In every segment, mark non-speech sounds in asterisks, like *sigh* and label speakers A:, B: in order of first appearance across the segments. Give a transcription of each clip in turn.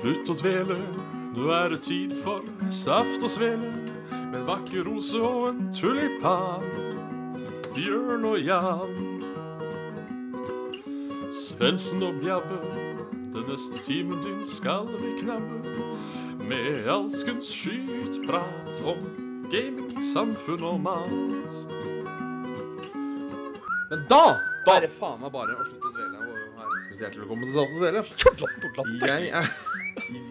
A: Slutt å dvele, nå er det tid for saft og svele. Med en vakker rose og en tulipan. Bjørn og Jan. Svendsen og Bjabbe, den neste timen din skal vi knabbe. Med alskens skytprat om gaming, samfunn og mat. Men da, da er det faen meg bare å slutte å dvele. Og være spesielt velkommen til Saft og Svele. Jeg er,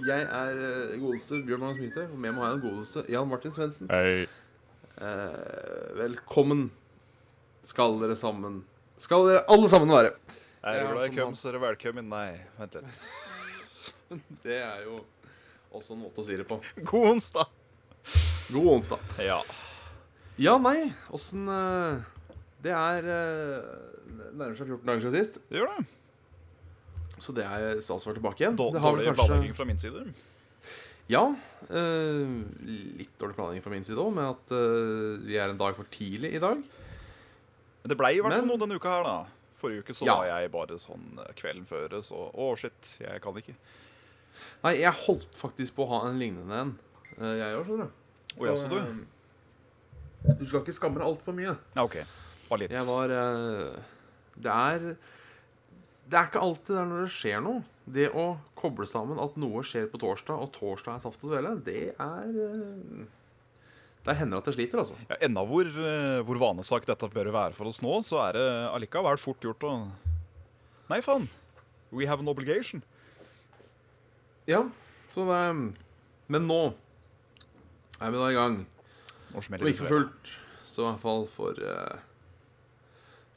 A: jeg er eh, godeste Bjørn Magnus Myhre, og med meg har jeg den godeste Jan Martin Svendsen.
B: Hei.
A: Eh, velkommen skal dere sammen Skal dere alle sammen være.
B: Er du
A: Ja,
B: glad i
A: som
B: køm,
A: vanlig.
B: så er det velkommen. Nei, vent
A: *laughs*
B: litt.
A: Det er jo også en måte å si det på.
B: God onsdag.
A: God onsdag.
B: Ja.
A: Ja, nei, åssen eh, Det er eh, nærmer seg 14 dager siden sist,
B: Det gjør det.
A: så det er stas å være tilbake igjen.
B: Då-
A: Det har vel
B: Dårlig
A: kanskje-
B: planlegging fra min side.
A: Ja. eh, litt dårlig planlegging fra min side òg, med at eh, vi er en dag for tidlig i dag.
B: Men det ble i hvert fall
A: Men-
B: noe denne uka her, da. Forrige uke så
A: Ja.
B: var jeg bare sånn eh, kvelden før, så Å, shit, jeg kan ikke.
A: Nei, jeg holdt faktisk på å ha en lignende en. Eh, Jeg òg, skjønner du.
B: Å jaså, du?
A: eh, Du skal ikke skamme deg altfor mye.
B: Ja, OK. Bare litt.
A: Jeg var eh, Det er Det er ikke alltid det er når det skjer noe. Det å koble sammen at noe skjer på torsdag, og torsdag er saft og svele, det er eh, Der hender det at jeg sliter, altså.
B: Ja, Enda hvor, eh, hvor vanesak dette bør være for oss nå, så er det allikevel fort gjort å Nei, faen. We have an obligation.
A: Ja, så det er Men nå er vi da i gang.
B: Nå smeller
A: Om ikke
B: det.
A: for fullt, så i hvert fall for eh,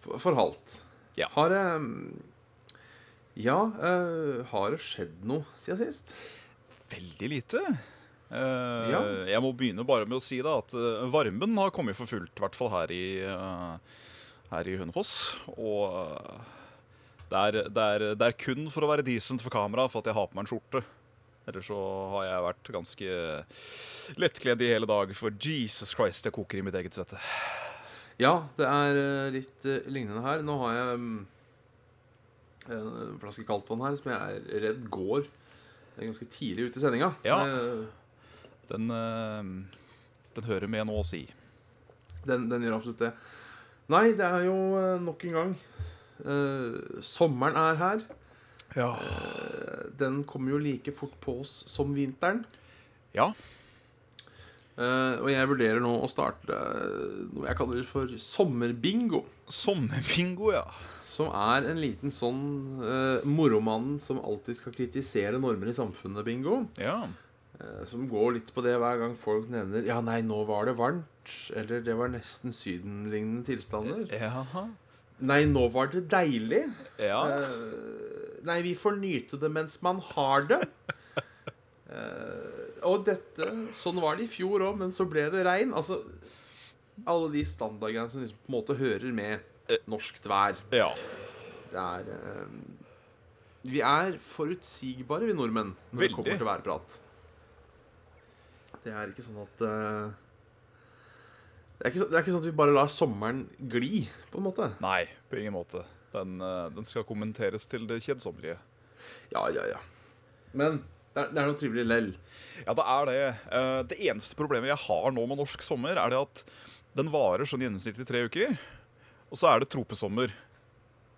A: For, for halvt.
B: Ja.
A: Har det Ja, eh, har det skjedd noe siden sist?
B: Veldig lite. Eh,
A: Ja.
B: Jeg må begynne bare med å si da, at eh, varmen har kommet for fullt, i hvert fall her i, eh, her i Hønefoss. Og eh, det er, det, er, det er kun for å være decent for kamera for at jeg har på meg en skjorte. Ellers så har jeg vært ganske lettkledd i hele dag, for Jesus Christ, jeg koker i mitt eget svette.
A: Ja, det er eh, litt eh, lignende her. Nå har jeg mm, en flaske kaldtvann her som jeg er redd går Det er ganske tidlig ute i sendinga.
B: Ja.
A: Eh,
B: Den, eh, den hører med nå å si.
A: Den, den gjør absolutt det. Nei, det er jo eh, nok en gang eh, Sommeren er her.
B: Ja.
A: Eh, Den kommer jo like fort på oss som vinteren.
B: Ja.
A: Eh, og jeg vurderer nå å starte eh, noe jeg kaller for sommerbingo.
B: Sommerbingo, ja.
A: Som er en liten sånn uh, moromannen som alltid skal kritisere normer i samfunnet-bingo.
B: Ja.
A: Eh, som går litt på det hver gang folk nevner Ja, nei, nå var det varmt. Eller det var nesten Syden-lignende tilstander.
B: Jaha.
A: Nei, nå var det deilig.
B: Ja.
A: Eh, nei, vi får nyte det mens man har det. Eh, og dette Sånn var det i fjor òg, men så ble det regn. Altså alle de standardgreiene som liksom på en måte hører med norskt vær.
B: Ja.
A: Det er eh, Vi er forutsigbare, vi nordmenn, når det
B: Veldig.
A: kommer til værprat. Det er ikke sånn at eh, det, er ikke, så- det er ikke sånn at vi bare lar sommeren gli, på en måte.
B: Nei, på ingen måte. Den, eh, den skal kommenteres til det kjedsommelige.
A: Ja, ja, ja. Men det er, det er noe trivelig lell.
B: Ja, det er det. Eh, Det eneste problemet jeg har nå med norsk sommer, er det at den varer sånn gjennomsnittlig tre uker. Og så er det tropesommer.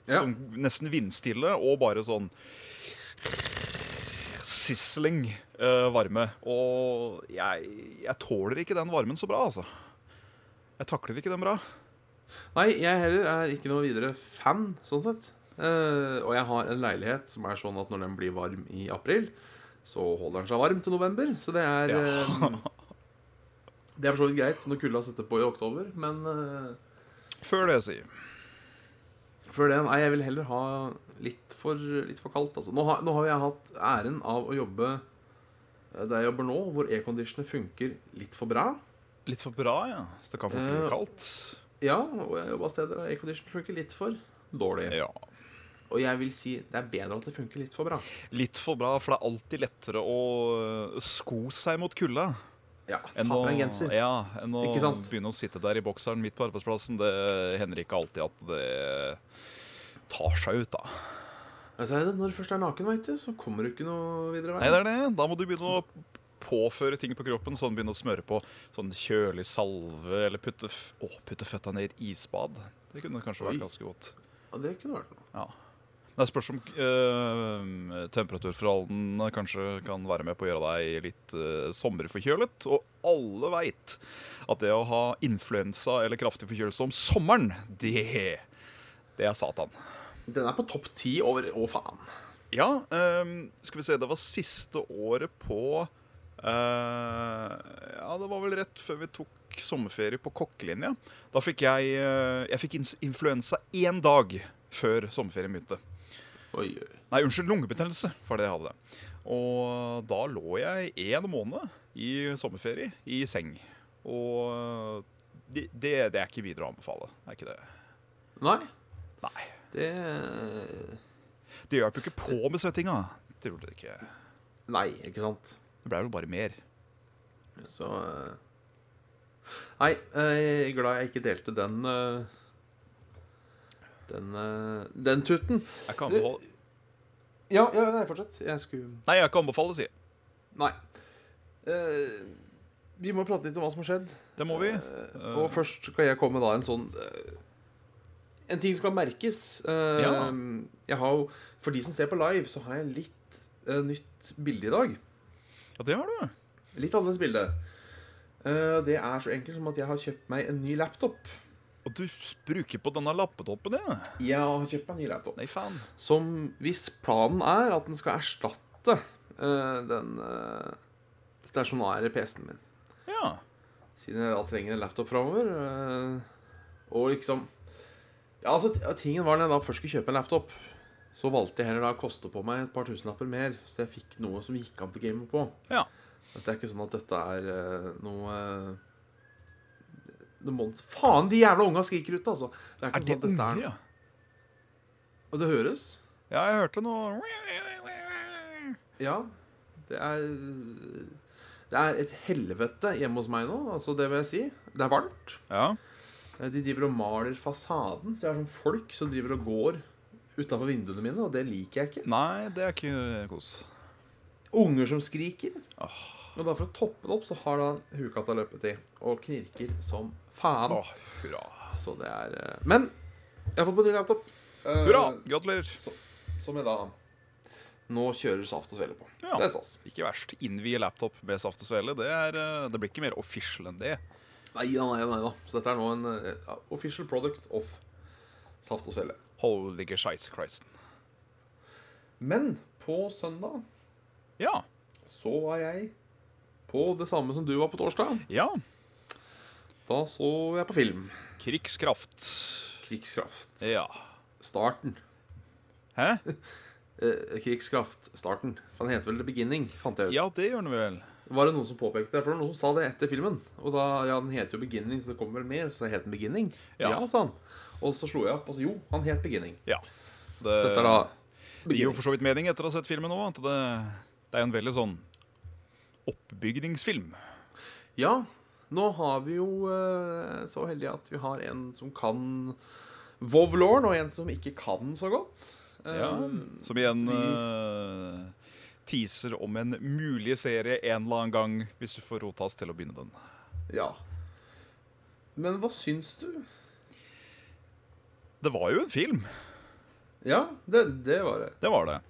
A: Ja.
B: Som nesten vindstille og bare sånn Sisling eh, varme. Og jeg, jeg tåler ikke den varmen så bra, altså. Jeg takler ikke den bra.
A: Nei, jeg heller er ikke noe videre fan, sånn sett. Eh, og jeg har en leilighet som er sånn at når den blir varm i april, så holder den seg varm til november. Så det er
B: Ja. *laughs*
A: eh, Det er for så vidt greit når kulda setter på i oktober, men eh,
B: Før det, si.
A: før det Nei, jeg vil heller ha litt for, litt for kaldt, altså. Nå har, nå har jeg hatt æren av å jobbe eh, der jeg jobber nå, hvor airconditioner funker litt for bra.
B: Litt for bra, ja. Så det kan fort bli
A: Eh,
B: kaldt.
A: Ja, og jeg jobber steder der airconditioner funker litt for dårlig.
B: Ja.
A: Og jeg vil si det er bedre at det funker litt for bra.
B: Litt for bra, for det er alltid lettere å øh, sko seg mot kulda
A: Ja, ta
B: enn
A: på
B: å,
A: deg en genser.
B: ja, enn å
A: Ikke sant?
B: begynne å sitte der i bokseren midt på arbeidsplassen. Det hender ikke alltid at det tar seg ut, da.
A: Jeg sa, Altså, når du først er naken, vet du, så kommer du ikke noe videre vei.
B: Nei, det er det. Da må du begynne å påføre ting på kroppen. Sånn begynne å smøre på sånn kjølig salve eller putte, f- å, putte føtta ned i et isbad. Det kunne kanskje
A: Oi.
B: vært ganske godt.
A: Og det kunne vært noe.
B: Ja. Det spørs om eh, temperaturforholdene kanskje kan være med på å gjøre deg litt eh, sommerforkjølet. Og alle veit at det å ha influensa eller kraftig forkjølelse om sommeren, det, det er satan.
A: Den er på topp ti over Å, faen.
B: Ja, ehm, skal vi se, det var siste året på eh, Ja, det var vel rett før vi tok sommerferie på kokkelinja. Da fikk jeg, eh, jeg fikk ins- influensa én dag før sommerferien begynte.
A: Oi, oi.
B: Nei, unnskyld, lungebetennelse var det jeg hadde. Og da lå jeg én måned i sommerferie i seng. Og det, det, det er ikke videre å anbefale. Det er ikke det.
A: Nei,
B: Nei.
A: det
B: Det hjelper jo ikke på med svettinga. Det gjorde det ikke.
A: Nei, ikke sant.
B: Det ble vel bare mer.
A: Så eh, Nei, eh, jeg er glad jeg ikke delte den eh, Den, eh, den tuten.
B: Jeg kan anbefale
A: Ja, ja, nei, fortsett. Jeg skulle
B: Nei, jeg kan anbefale, sier jeg.
A: Nei. Eh, vi må prate litt om hva som har skjedd.
B: Det må vi.
A: Eh, og først skal jeg komme med da en sånn eh, En ting som kan merkes. Eh,
B: Ja.
A: Jeg har jo For de som ser på live, så har jeg litt eh, nytt bilde i dag.
B: Ja, det har du.
A: Litt annerledes bilde. Eh, det er så enkelt som at jeg har kjøpt meg en ny laptop.
B: Og du s- bruker på denne lappetoppen, ja.
A: Jeg har kjøpt meg en ny laptop
B: Nei, faen.
A: Som hvis planen er at den skal erstatte eh, den eh, stasjonære PC-en min.
B: Ja.
A: Siden jeg da trenger en laptop framover. Og liksom Ja, altså, t- tingen var når jeg da først skulle kjøpe en laptop, så valgte jeg heller da å koste på meg et par tusenlapper mer, så jeg fikk noe som gikk an til gamet på.
B: Ja.
A: Altså, det er ikke sånn at dette er eh, noe eh, noe monst... Faen, de jævla unga skriker ute, altså! Det er ikke
B: Er det
A: sånn at dette
B: unger,
A: er
B: ja?
A: Og det høres.
B: Ja, jeg hørte noe
A: Ja. Det er Det er et helvete hjemme hos meg nå, altså, det vil jeg si. Det er varmt.
B: Ja.
A: Eh, De driver og maler fasaden, så jeg har sånn folk som driver og går utafor vinduene mine, og det liker jeg ikke.
B: Nei, det er ikke kos.
A: Unger som skriker.
B: Åh.
A: Og da for å toppe det opp, så har da hukatta løpet i og knirker som faen.
B: Å, hurra.
A: Så det er eh, Men jeg har fått på ny laptop. eh,
B: Hurra! Gratulerer.
A: Som jeg da nå kjører saft og svele på.
B: Ja.
A: Det er stas.
B: Ikke verst. Innvie laptop med saft og svele. Det, er, eh, det blir ikke mer official enn det.
A: Nei da, nei da. nei da. Så dette er nå en eh, ja, official product of saft og svele.
B: Holy scheisse Christen.
A: Men på søndag
B: Ja.
A: så var jeg på det samme som du var på torsdag.
B: Ja.
A: Da så jeg på film.
B: Krigskraft.
A: Krigskraft.
B: Ja.
A: Starten.
B: Hæ?
A: Eh, krigskraft. Starten. For den heter vel The Beginning, fant jeg ut.
B: Ja, det gjør den vel.
A: Var det noen som påpekte det? For det var noen som sa det etter filmen. Og da, ja, den heter jo Beginning, så det kommer vel mer, så det het den Beginning. Ja,
B: Ja.
A: sa han. Og så slo jeg opp, og så jo, han het Beginning.
B: Ja. Det,
A: Så dette er da
B: Eh, Det gir jo
A: Beginning.
B: for så vidt mening etter å ha sett filmen òg, at det, det er en veldig sånn oppbygningsfilm.
A: Ja, nå har vi jo eh, så heldige at vi har en som kan Vovlorn, og en som ikke kan så godt. Eh,
B: Ja, som igjen
A: så vi-
B: eh, teaser om en mulig serie en eller annen gang, hvis du får rotas til å begynne den.
A: ja. Men hva syns du?
B: Det var jo en film,
A: Ja, det, det var det.
B: det var det.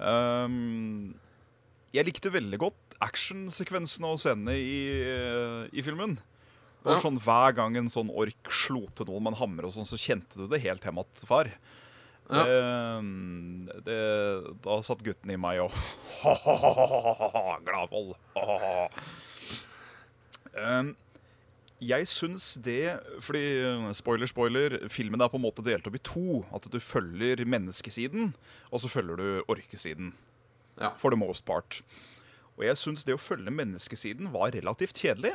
B: Ehm, jeg likte veldig godt actionsekvensene og scenene i, eh, i filmen. Det var
A: Ja.
B: sånn Hver gang en sånn ork slo til noen med en hammer, og sånn, så kjente du det helt hjem att, far.
A: Ja.
B: Ehm, det, da satt gutten i meg og *laughs* Gladvold. *laughs* Ehm, jeg syns det Fordi, eh, spoiler, spoiler, filmen er på en måte delt opp i to. At du følger menneskesiden, og så følger du orkesiden.
A: Ja.
B: For the most part. Og jeg syns det å følge menneskesiden var relativt kjedelig.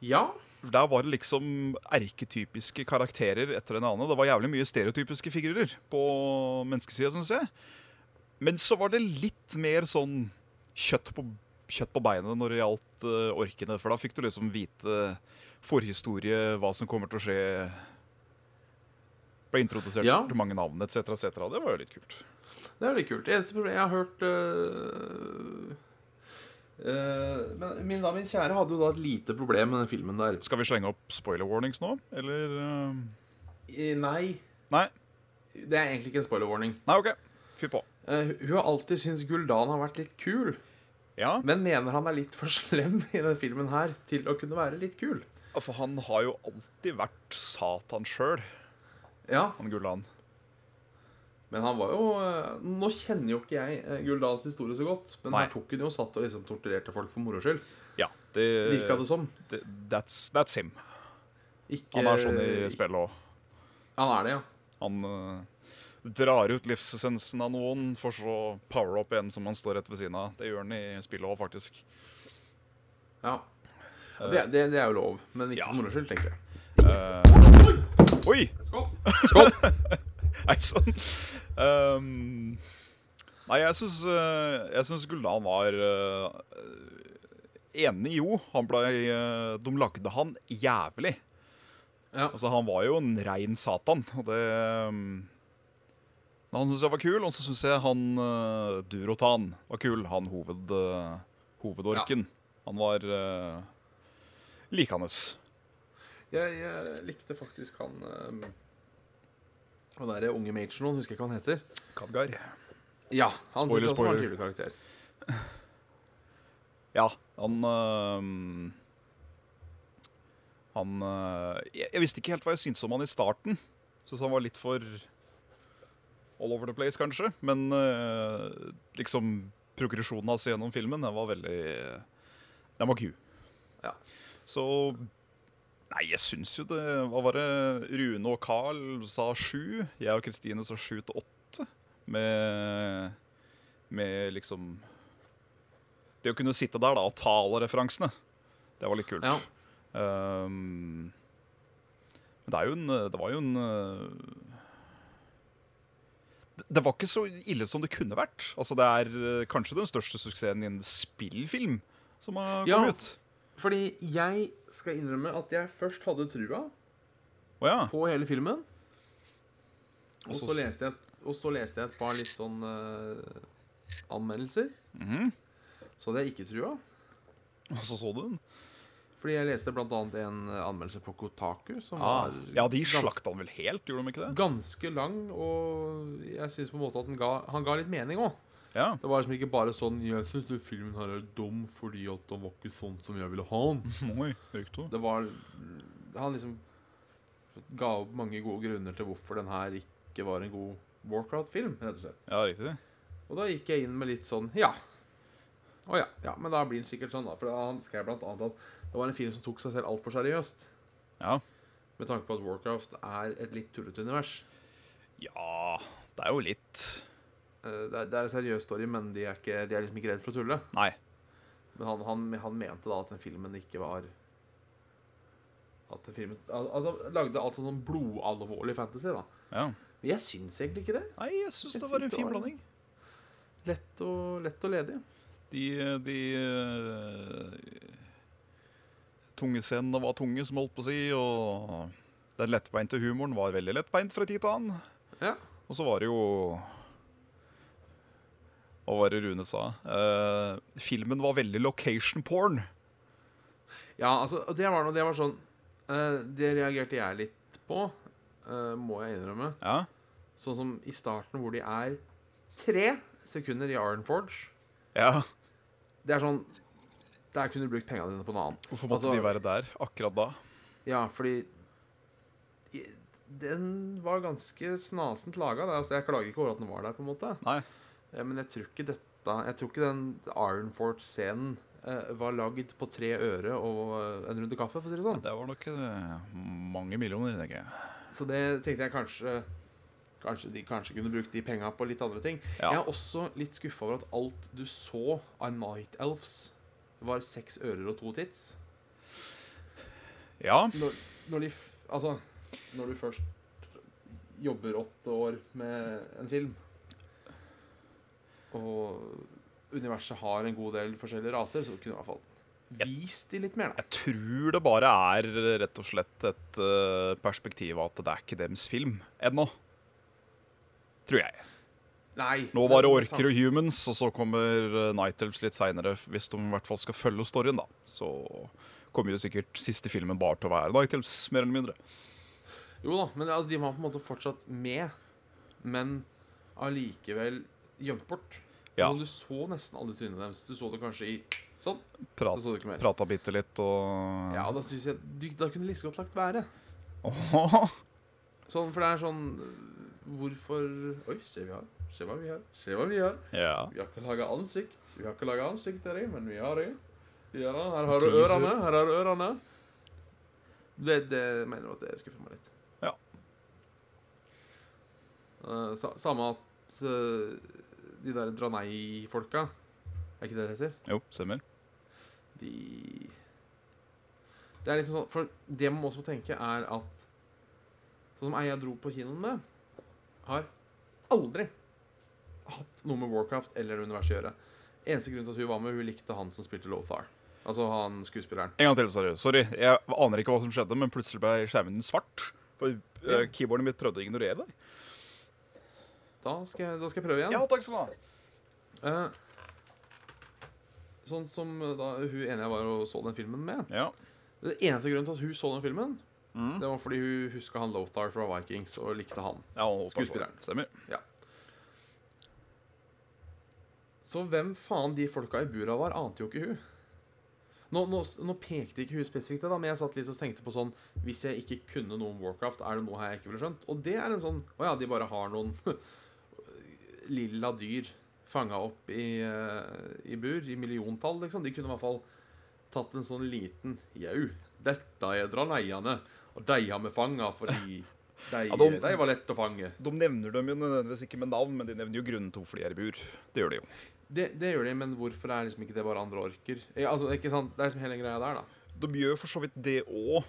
A: Ja.
B: Der var det liksom erketypiske karakterer etter en annen. Det var jævlig mye stereotypiske figurer på menneskesida, syns jeg. Men så var det litt mer sånn kjøtt på, kjøtt på beinet når det gjaldt eh, orkene. For da fikk du liksom vite forhistorie, hva som kommer til å skje Ble introdusert
A: Ja.
B: til mange navn etc. Et cetera. det var jo litt kult.
A: Det er jo litt kult. Det eneste problemet jeg har hørt øh, øh, Men min, da, min kjære hadde jo da et lite problem med den filmen der.
B: Skal vi slenge opp spoiler warnings nå, eller eh,
A: Eh, Nei,
B: Nei?
A: det er egentlig ikke en spoiler warning.
B: Nei, OK. Fyr på.
A: Eh, hun- hun har alltid syntes Guldan har vært litt kul,
B: Ja,
A: men mener han er litt for slem *laughs* i den filmen her til å kunne være litt kul.
B: for han har jo alltid vært Satan sjøl,
A: Ja,
B: han Gullan.
A: men han var jo øh, Nå kjenner jo ikke jeg eh, Guldans historie så godt, men
B: Nei.
A: her tok hun jo og satt og liksom torturerte folk for moro skyld.
B: Ja, det,
A: Virka det som.
B: det that's, that's him.
A: Ikke,
B: Han er sånn
A: Eh,
B: i spillet òg.
A: Han er det, ja.
B: Han eh, drar ut livsessensen av noen, for så å power up en som han står rett ved siden av. Det gjør han i spillet òg, faktisk.
A: ja. Det, det, det er jo lov, men ikke
B: Eh. Ja.
A: for moro skyld, tenker jeg.
B: Eh, Oi!
A: Skål!
B: *laughs* Nei, sånn. Ehm, nei, jeg syns, eh, jeg syns Guldan var eh, enig, jo. Han ble, eh, de lagde han jævlig.
A: Ja.
B: Altså, han var jo en rein satan, og det ehm, men Han syns jeg var kul, og så syns jeg han eh, Durotan var kul. Han hoved, eh, hovedorken. Han var uh, likende.
A: Jeg, jeg likte faktisk han um, Han derre unge magen nå, husker jeg ikke hva han heter.
B: Kadgar.
A: Ja, han
B: Spoiler,
A: synes også var en
B: spoiler.
A: tydelig karakter.
B: Ja, han øhm, Han øh, jeg, jeg visste ikke helt hva jeg syntes om han i starten. Syns han var litt for all over the place, kanskje. Men øh, liksom progresjonen hans gjennom filmen, den var veldig Den var ku.
A: Ja.
B: Så Nei, jeg syns jo det Hva var det Rune og Carl sa sju? Jeg og Kristine sa sju til åtte. Med, med liksom Det å kunne sitte der da og ta alle referansene, det var litt kult.
A: Ja.
B: Ehm, men det er jo en Det var jo en øh, det- Det var ikke så ille som det kunne vært. Altså Det er øh, kanskje den største suksessen i en spillfilm som har
A: Ja.
B: kommet ut.
A: Fordi jeg skal innrømme at jeg først hadde trua
B: Å ja.
A: på hele filmen. Og
B: så-
A: så leste jeg, og så leste jeg et par litt sånn eh, anmeldelser.
B: Mhm.
A: Så hadde jeg ikke trua.
B: Og *laughs* så så du den.
A: Fordi jeg leste bl.a. en eh, anmeldelse på Kotaku som
B: Ah,
A: var
B: ja, de
A: ganske-
B: slakta han vel helt, gjorde de ikke det?
A: ganske lang, og jeg syns på en måte at den ga, han ga litt mening òg.
B: Ja,
A: Det var liksom ikke bare sånn 'Jeg syns den filmen her er dum fordi at den var ikke sånn som jeg ville ha den'.
B: Oi, riktig.
A: Det var Han liksom ga opp mange gode grunner til hvorfor den her ikke var en god Warcraft-film, rett og slett.
B: Ja, riktig.
A: Og da gikk jeg inn med litt sånn Ja. Å ja. ja. Men da blir den sikkert sånn, da. For han skrev blant annet at det var en film som tok seg selv altfor seriøst.
B: Ja.
A: Med tanke på at Warcraft er et litt tullete univers.
B: ja, det er jo litt
A: Eh, Det er, det er en seriøs story, men de er, ikke, de er liksom ikke redd for å tulle.
B: Nei.
A: Men han, han, han mente da at den filmen ikke var At den filmen At at han lagde alt sånn blodalvorlig fantasy, da.
B: Ja.
A: Men jeg syns egentlig ikke det.
B: Nei, jeg syns det var en fin blanding.
A: Lett og, lett og ledig.
B: De, de eh, Tungescenene var tunge, som jeg holdt på å si, og den lettbeinte humoren var veldig lettbeint fra tid til annen.
A: Ja.
B: Og så var det jo Hva var det Rune sa? Eh, filmen var veldig location porn.
A: ja altså, og det var noe Det var sånn eh, Det reagerte jeg litt på, eh, må jeg innrømme.
B: Ja.
A: Sånn som i starten, hvor de er tre sekunder i Ironforge.
B: ja.
A: Det er sånn Der kunne du brukt pengene dine på noe annet.
B: Hvorfor måtte
A: Altså,
B: de være der akkurat da?
A: Ja, fordi i- Den var ganske snasent laga. Altså, jeg klager ikke over at den var der, på en måte.
B: Nei.
A: Eh, Men jeg tror ikke dette Jeg tror ikke den Ironfort-scenen eh, var lagd på tre øre og eh, en runde kaffe, for å si det sånn.
B: Det var nok eh, mange millioner, tenker jeg.
A: Så det tenkte jeg kanskje Kanskje de kanskje kunne brukt de penga på litt andre ting.
B: Ja.
A: Jeg er også litt skuffa over at alt du så av Night Elves, var seks ører og to tits.
B: Ja,
A: når, når de f- Altså, når du først jobber åtte år med en film, og universet har en god del forskjellige raser, så kunne du i hvert fall Vis de litt mer, da.
B: Jeg tror det bare er rett og slett et eh, perspektiv at det er ikke deres film ennå. Tror jeg.
A: Nei.
B: Nå var det orker og humans, og så kommer eh, Night Elves litt seinere, hvis de i hvert fall skal følge storyen, da. Så kommer jo sikkert siste filmen bare til å være Night Elves, mer eller mindre.
A: Jo da, men altså, de var på en måte fortsatt med, men allikevel gjemt bort.
B: Ja.
A: Og du så nesten alle trynene deres. Du så det kanskje i sånn. Så
B: Prat,
A: så du ikke mer.
B: prata bitte litt og
A: Ja, da synes jeg du, Da kunne du like så godt lagt være.
B: Åh,
A: Sånn, for det er sånn øh, Hvorfor Oi, se vi har. Se hva vi har. Se hva vi har.
B: *laughs* ja.
A: Vi har ikke laga ansikt. Vi har ikke laga ansikt der, men vi har øyne. Vi har øyne. Her har du ørene. Her har du ørene. Det, det mener jeg at det skuffer meg litt.
B: Ja.
A: Eh, sa, samme at eh, de der dra nei-folka Er ikke det det heter?
B: Jo, stemmer.
A: De Det er liksom sånn For det man også må tenke, er at Sånn som ei jeg dro på kinoen med, har aldri hatt noe med Warcraft eller universet å gjøre. Eneste grunn til at hun var med, hun likte han som spilte Lothar. Altså han skuespilleren.
B: En gang til, seriøst. Sorry. Jeg aner ikke hva som skjedde, men plutselig ble skjermen din svart. For eh, keyboardet mitt prøvde å ignorere deg.
A: Da skal jeg, da skal jeg prøve igjen.
B: Ja, takk skal du ha.
A: Eh, sånn som eh, da hun ene jeg var og så den filmen med
B: Ja.
A: Den eneste grunnen til at hun så den filmen,
B: Mm.
A: det var fordi hun huska han Lothar fra Vikings og likte han.
B: Ja, og-
A: Skuespilleren.
B: Stemmer.
A: Så hvem faen de folka i bura var, ante jo ikke hun. Nå, nå, nå pekte ikke hun spesifikt, det da, men jeg satt litt og tenkte på sånn Hvis jeg ikke kunne noe om Warcraft, er det noe her jeg ikke ville skjønt? Og det er en sånn Å ja, de bare har noen *laughs* lilla dyr fanga opp i, eh, i bur, i milliontall, liksom. De kunne i hvert fall tatt en sånn liten Jau, dette er draleiene, og de har vi fanga fordi de,
B: *laughs* Ja, de-
A: de var lett å fange.
B: De nevner dem jo nødvendigvis ikke med navn, men de nevner jo grunnen til hvorfor de er i bur. Det gjør de jo.
A: Det, det gjør de, men hvorfor er liksom ikke det bare andre orker? Ja, altså, ikke sant? Det er liksom hele greia der, da.
B: De gjør for så vidt det òg,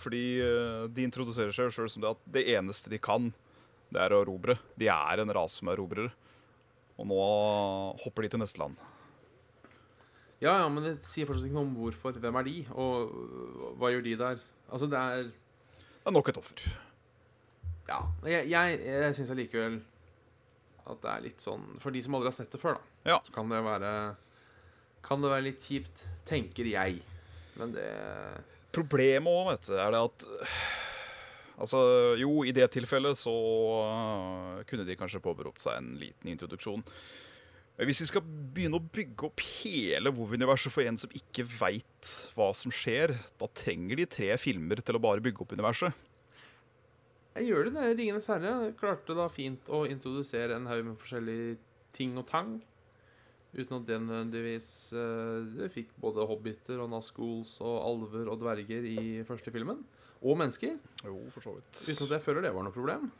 B: fordi eh, de introduserer seg sjøl som det at det eneste de kan, det er å erobre. De er en rase med erobrere. Og nå hopper de til neste land.
A: Ja, ja, men det sier fortsatt ikke noe om hvorfor. Hvem er de, og øh, hva gjør de der? Altså, det er
B: Det er nok et offer.
A: Ja. Jeg, jeg, jeg syns allikevel at det er litt sånn For de som aldri har sett det før, da,
B: Ja.
A: så kan det være Kan det være litt kjipt, tenker jeg. Men det
B: Problemet òg, vet du, er det at Altså, jo, i det tilfellet så øh, kunne de kanskje påberopt seg en liten introduksjon. Men hvis vi skal begynne å bygge opp hele WoW-universet for en som ikke veit hva som skjer, da trenger de tre filmer til å bare bygge opp universet.
A: Jeg gjør det, det. Ringenes herre klarte da fint å introdusere en haug med forskjellige ting og tang. Uten at det nødvendigvis eh, det fikk både hobbiter og nascools og alver og dverger i første filmen. Og mennesker.
B: Jo, for så vidt.
A: Uten at jeg føler det var noe problem. Og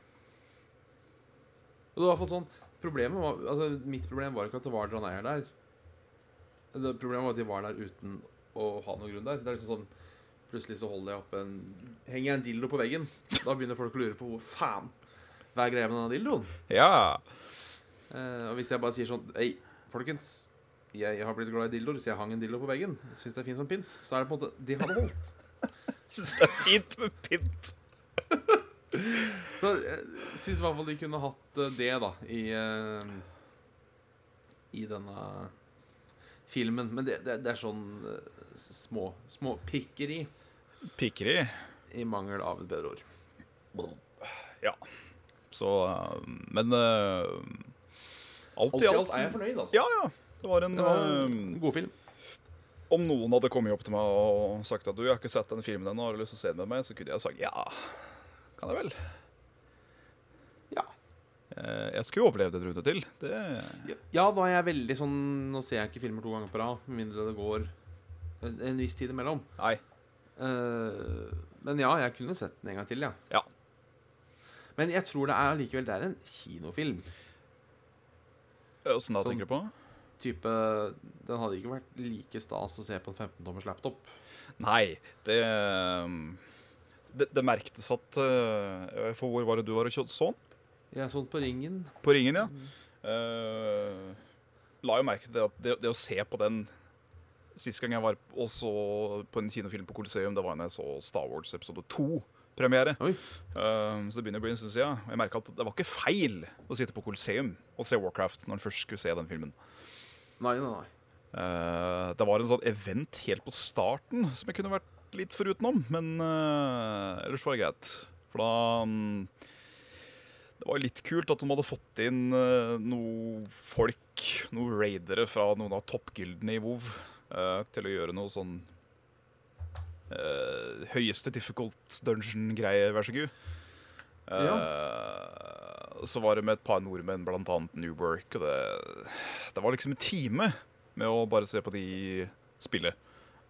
A: det var i hvert fall sånn Problemet var Altså, mitt problem var ikke at det var draneier der. Det problemet var at de var der uten å ha noen grunn der. Det er liksom sånn Plutselig så holder jeg opp en Henger jeg en dildo på veggen? Da begynner folk å lure på hvor faen Hva er greia med denne dildoen?
B: Ja.
A: Eh, og hvis jeg bare sier sånn Hei, folkens. Jeg har blitt glad i dildoer, så jeg hang en dildo på veggen. Syns det er fint som pynt. Så er det på en måte De hadde holdt.
B: Syns det er fint med pynt.
A: Så jeg syns i hvert fall de kunne hatt eh, det, da, i eh, I denne filmen. Men det, det, det er sånn eh, s- små småpikkeri,
B: Pikkeri.
A: i mangel av et bedre ord.
B: Så øh, Men øh, alt
A: Alt eh, i alt er jeg fornøyd, altså.
B: Ja, ja. Det var en
A: Det var
B: øh,
A: en god film.
B: Om noen hadde kommet opp til meg og sagt at du, jeg har ikke sett den filmen ennå, har du lyst til å se den med meg, så kunne jeg sagt ja. Kan jeg vel?
A: Ja.
B: Eh, Jeg skulle jo overlevd en runde til. Det
A: Ja, da er jeg veldig sånn Nå ser jeg ikke filmer to ganger på rad, med mindre det går en, en viss tid imellom.
B: Nei.
A: Eh, men ja, jeg kunne sett den en gang til, ja.
B: Ja.
A: Men jeg tror det er allikevel Det er en kinofilm.
B: Eh, Åssen da,
A: Sånn.
B: tenker du på?
A: type Den hadde ikke vært like stas å se på en 15-tommers laptop.
B: Nei, det ehm, Det, det merktes at eh, For hvor var det du var og kjøpte sånn?
A: Jeg så den på Ringen.
B: På Ringen, ja. Eh, la jo merke til det at det, det å se på den Sist gang jeg var også på en kinofilm på Coliseum, det var da jeg så Star Wars episode 2. Premiere.
A: Oi.
B: Um, så det begynner å bli en stund siden. Og Jeg merka at det var ikke feil å sitte på Coliseum og se Warcraft når en først skulle se den filmen.
A: Nei, nei, nei.
B: Eh, det var en sånn event helt på starten som jeg kunne vært litt foruten om, men eh, ellers var det greit. For da mm, Det var jo litt kult at de hadde fått inn uh, noe folk, noen raidere fra noen av toppgyldene i WoW, eh, til å gjøre noe sånn eh, høyeste difficult dungeon-greie, vær så god. Eh, Så var det med et par nordmenn, blant annet Newwork, og det, det var liksom en time med å bare se på de spille.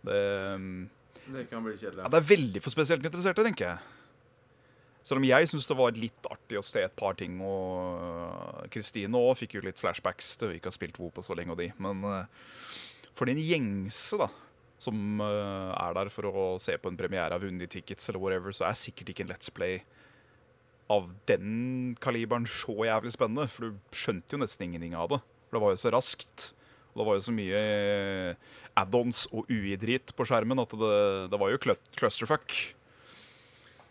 B: Det, um,
A: Det kan bli
B: ja,
A: kjedelig.
B: det er veldig for spesielt interesserte, tenker jeg. Selv om jeg syns det var litt artig å se et par ting, og Kristine òg fikk jo litt flashbacks til vi ikke har spilt WoW på så lenge, og de. Men eh, for den gjengse, da, som eh, er der for å se på en premiere av Unni Tickets eller whatever, så er sikkert ikke en Let's Play av den kaliberen så jævlig spennende, for du skjønte jo nesten ingenting av det. For det var jo så raskt. Og det var jo så mye eh, add-ons og UI-drit på skjermen at det, det var jo clu- clusterfuck.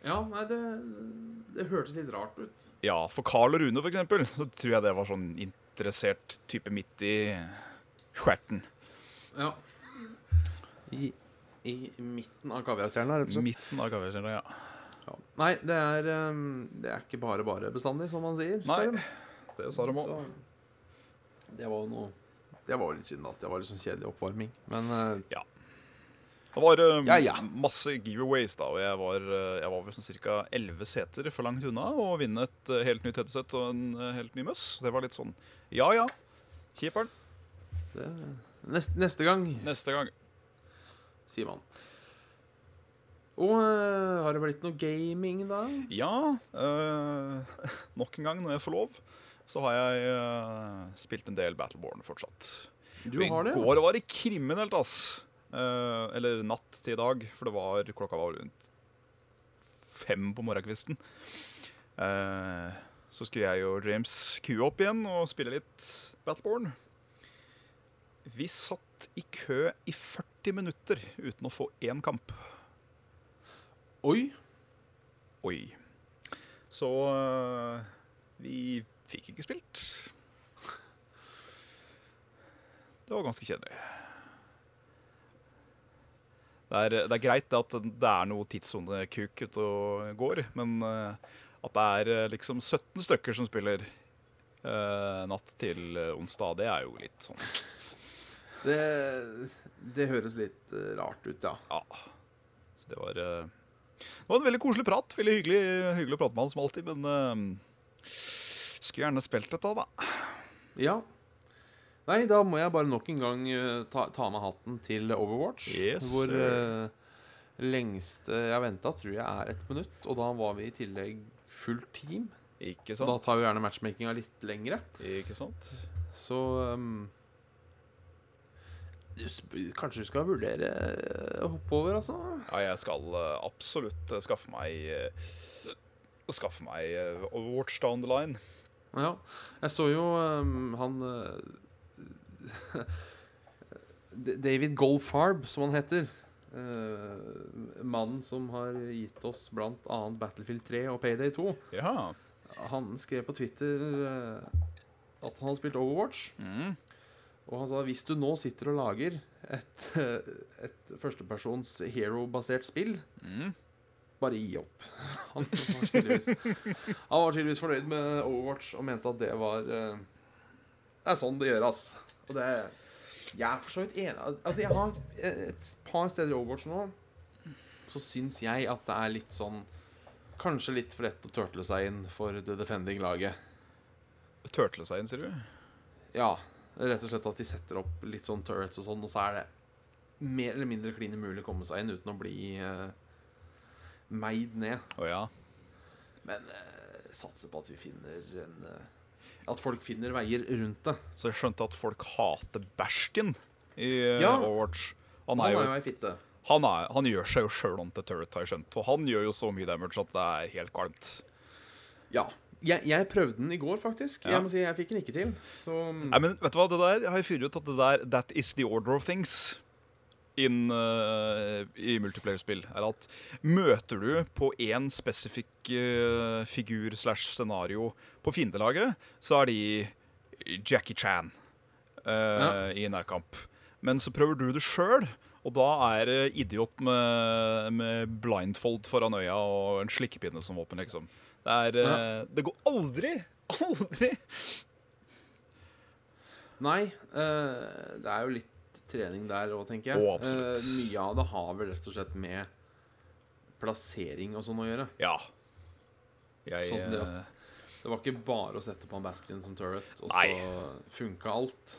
A: Ja, nei, det, det hørtes litt rart ut.
B: Ja, for Carl og Rune, for eksempel, så tror jeg det var sånn interessert type midt i skjerten.
A: Ja. I, i midten av kaviarstjerna, rett og slett.
B: Midten av kaviarstjerna, ja.
A: Ja. Nei, det er, ehm, det er ikke bare bare bestandig, som man sier.
B: Nei,
A: ser de.
B: Det sa de òg.
A: Så, det var jo noe Det var jo litt synd at det var litt sånn kjedelig oppvarming. Men eh,
B: Det var eh,
A: Ja, ja.
B: masse giveaways, da, og jeg var, eh, jeg var vel sånn ca. elleve seter for langt unna å vinne et eh, helt nytt headset og en eh, helt ny møss. Det var litt sånn ja ja, kjiper'n.
A: det, neste, neste gang,
B: Neste gang.
A: sier man. Og eh, har det blitt noe gaming, da?
B: Ja, eh, *laughs* nok en gang når jeg får lov, så har jeg eh, spilt en del Battleborn fortsatt.
A: Du
B: Og
A: har det?
B: I går var det kriminelt, ass. Eh, eller natt til i dag, for det var, klokka var rundt fem på morgenkvisten. Eh, så skulle jeg og James kue opp igjen og spille litt Battleborn. Vi satt i kø i 40 minutter uten å få én kamp.
A: Oi.
B: Oi. Så øh, vi fikk ikke spilt. Det var ganske kjedelig. Det er, det er greit at det er noe tidssonekuk ute og går, men øh, at det er øh, liksom 17 stykker som spiller øh, natt til øh, onsdag, det er jo litt sånn
A: Det, det høres litt eh, rart ut, ja.
B: Ja. Så det var eh, Det var en veldig koselig prat. Veldig hyggelig, hyggelig å prate med han som alltid, men eh, skulle gjerne spilt dette, da.
A: Ja. Nei, da må jeg bare nok en gang eh, ta, ta med hatten til Overwatch.
B: Yes,
A: hvor
B: sir.
A: eh, lengste jeg venta, tror jeg er ett minutt. Og da var vi i tillegg fullt team.
B: Ikke
A: Så da
B: sant?
A: tar jo gjerne matchmakinga litt lengre.
B: Ikke sant?
A: Så ehm, du sp- Kanskje du skal vurdere å hoppe over, altså?
B: Ja, jeg skal eh, absolutt eh, skaffe meg eh, Skaffe meg eh, Overwatch down the line.
A: Ja. Jeg så jo ehm, han eh, *laughs* D- David Goldfarb, som han heter. eh, mannen som har gitt oss blant annet Battlefield 3 og Payday 2.
B: Ja.
A: Han skrev på Twitter eh, at han hadde spilt Overwatch.
B: Mm.
A: Og han sa hvis du nå sitter og lager et, et førstepersons hero-basert spill,
B: Mm.
A: bare gi opp. *laughs* Han var tydeligvis, han var tydeligvis fornøyd med Overwatch og mente at det var eh, Det er sånn det gjøres. Og det er Jeg er for så vidt enig Al- Altså, jeg har et par steder i Overwatch nå så syns jeg at det er litt sånn Kanskje litt for lett å turtle seg inn for the defending laget.
B: Turtle seg inn, sier du?
A: Ja, rett og slett at de setter opp litt sånn turrets og sånn, og så er det mer eller mindre klin umulig å komme seg inn uten å bli eh, meid ned.
B: Å ja.
A: Men eh, satser på at vi finner en eh, At folk finner veier rundt det.
B: Så jeg skjønte at folk hater Bashkin i eh,
A: Ja.
B: Overwatch. Han
A: Han
B: er jo
A: ei fitte.
B: han, er, han gjør seg jo sjøl om til turret, har jeg skjønt. Og han gjør jo så mye damage at det er helt kvalmt.
A: Ja. Jeg, jeg prøvde den i går, faktisk.
B: Ja.
A: Jeg må si jeg fikk den ikke til. Så mm,
B: Nei, men vet du hva, det der har jeg funnet ut at det der That is the order of things. inn eh, i multiplayer-spill, er at møter du på én spesifikk eh, figur slash scenario på fiendelaget, så er de Jackie Chan eh,
A: Ja.
B: i nærkamp. Men så prøver du det sjøl, og da er det idiot med, med blindfold foran øya og en slikkepinne som våpen, liksom. Det er eh, Det går aldri! *laughs* Aldri!
A: Nei, eh, det er jo litt trening der òg, tenker jeg.
B: Å, absolutt.
A: Eh, mye av det har vel rett og slett med plassering og sånn å gjøre.
B: Ja. Jeg,
A: Sånn som det,
B: eh,
A: ass. Det var ikke bare å sette på en Bastion som turret, og
B: Nei.
A: så funka alt.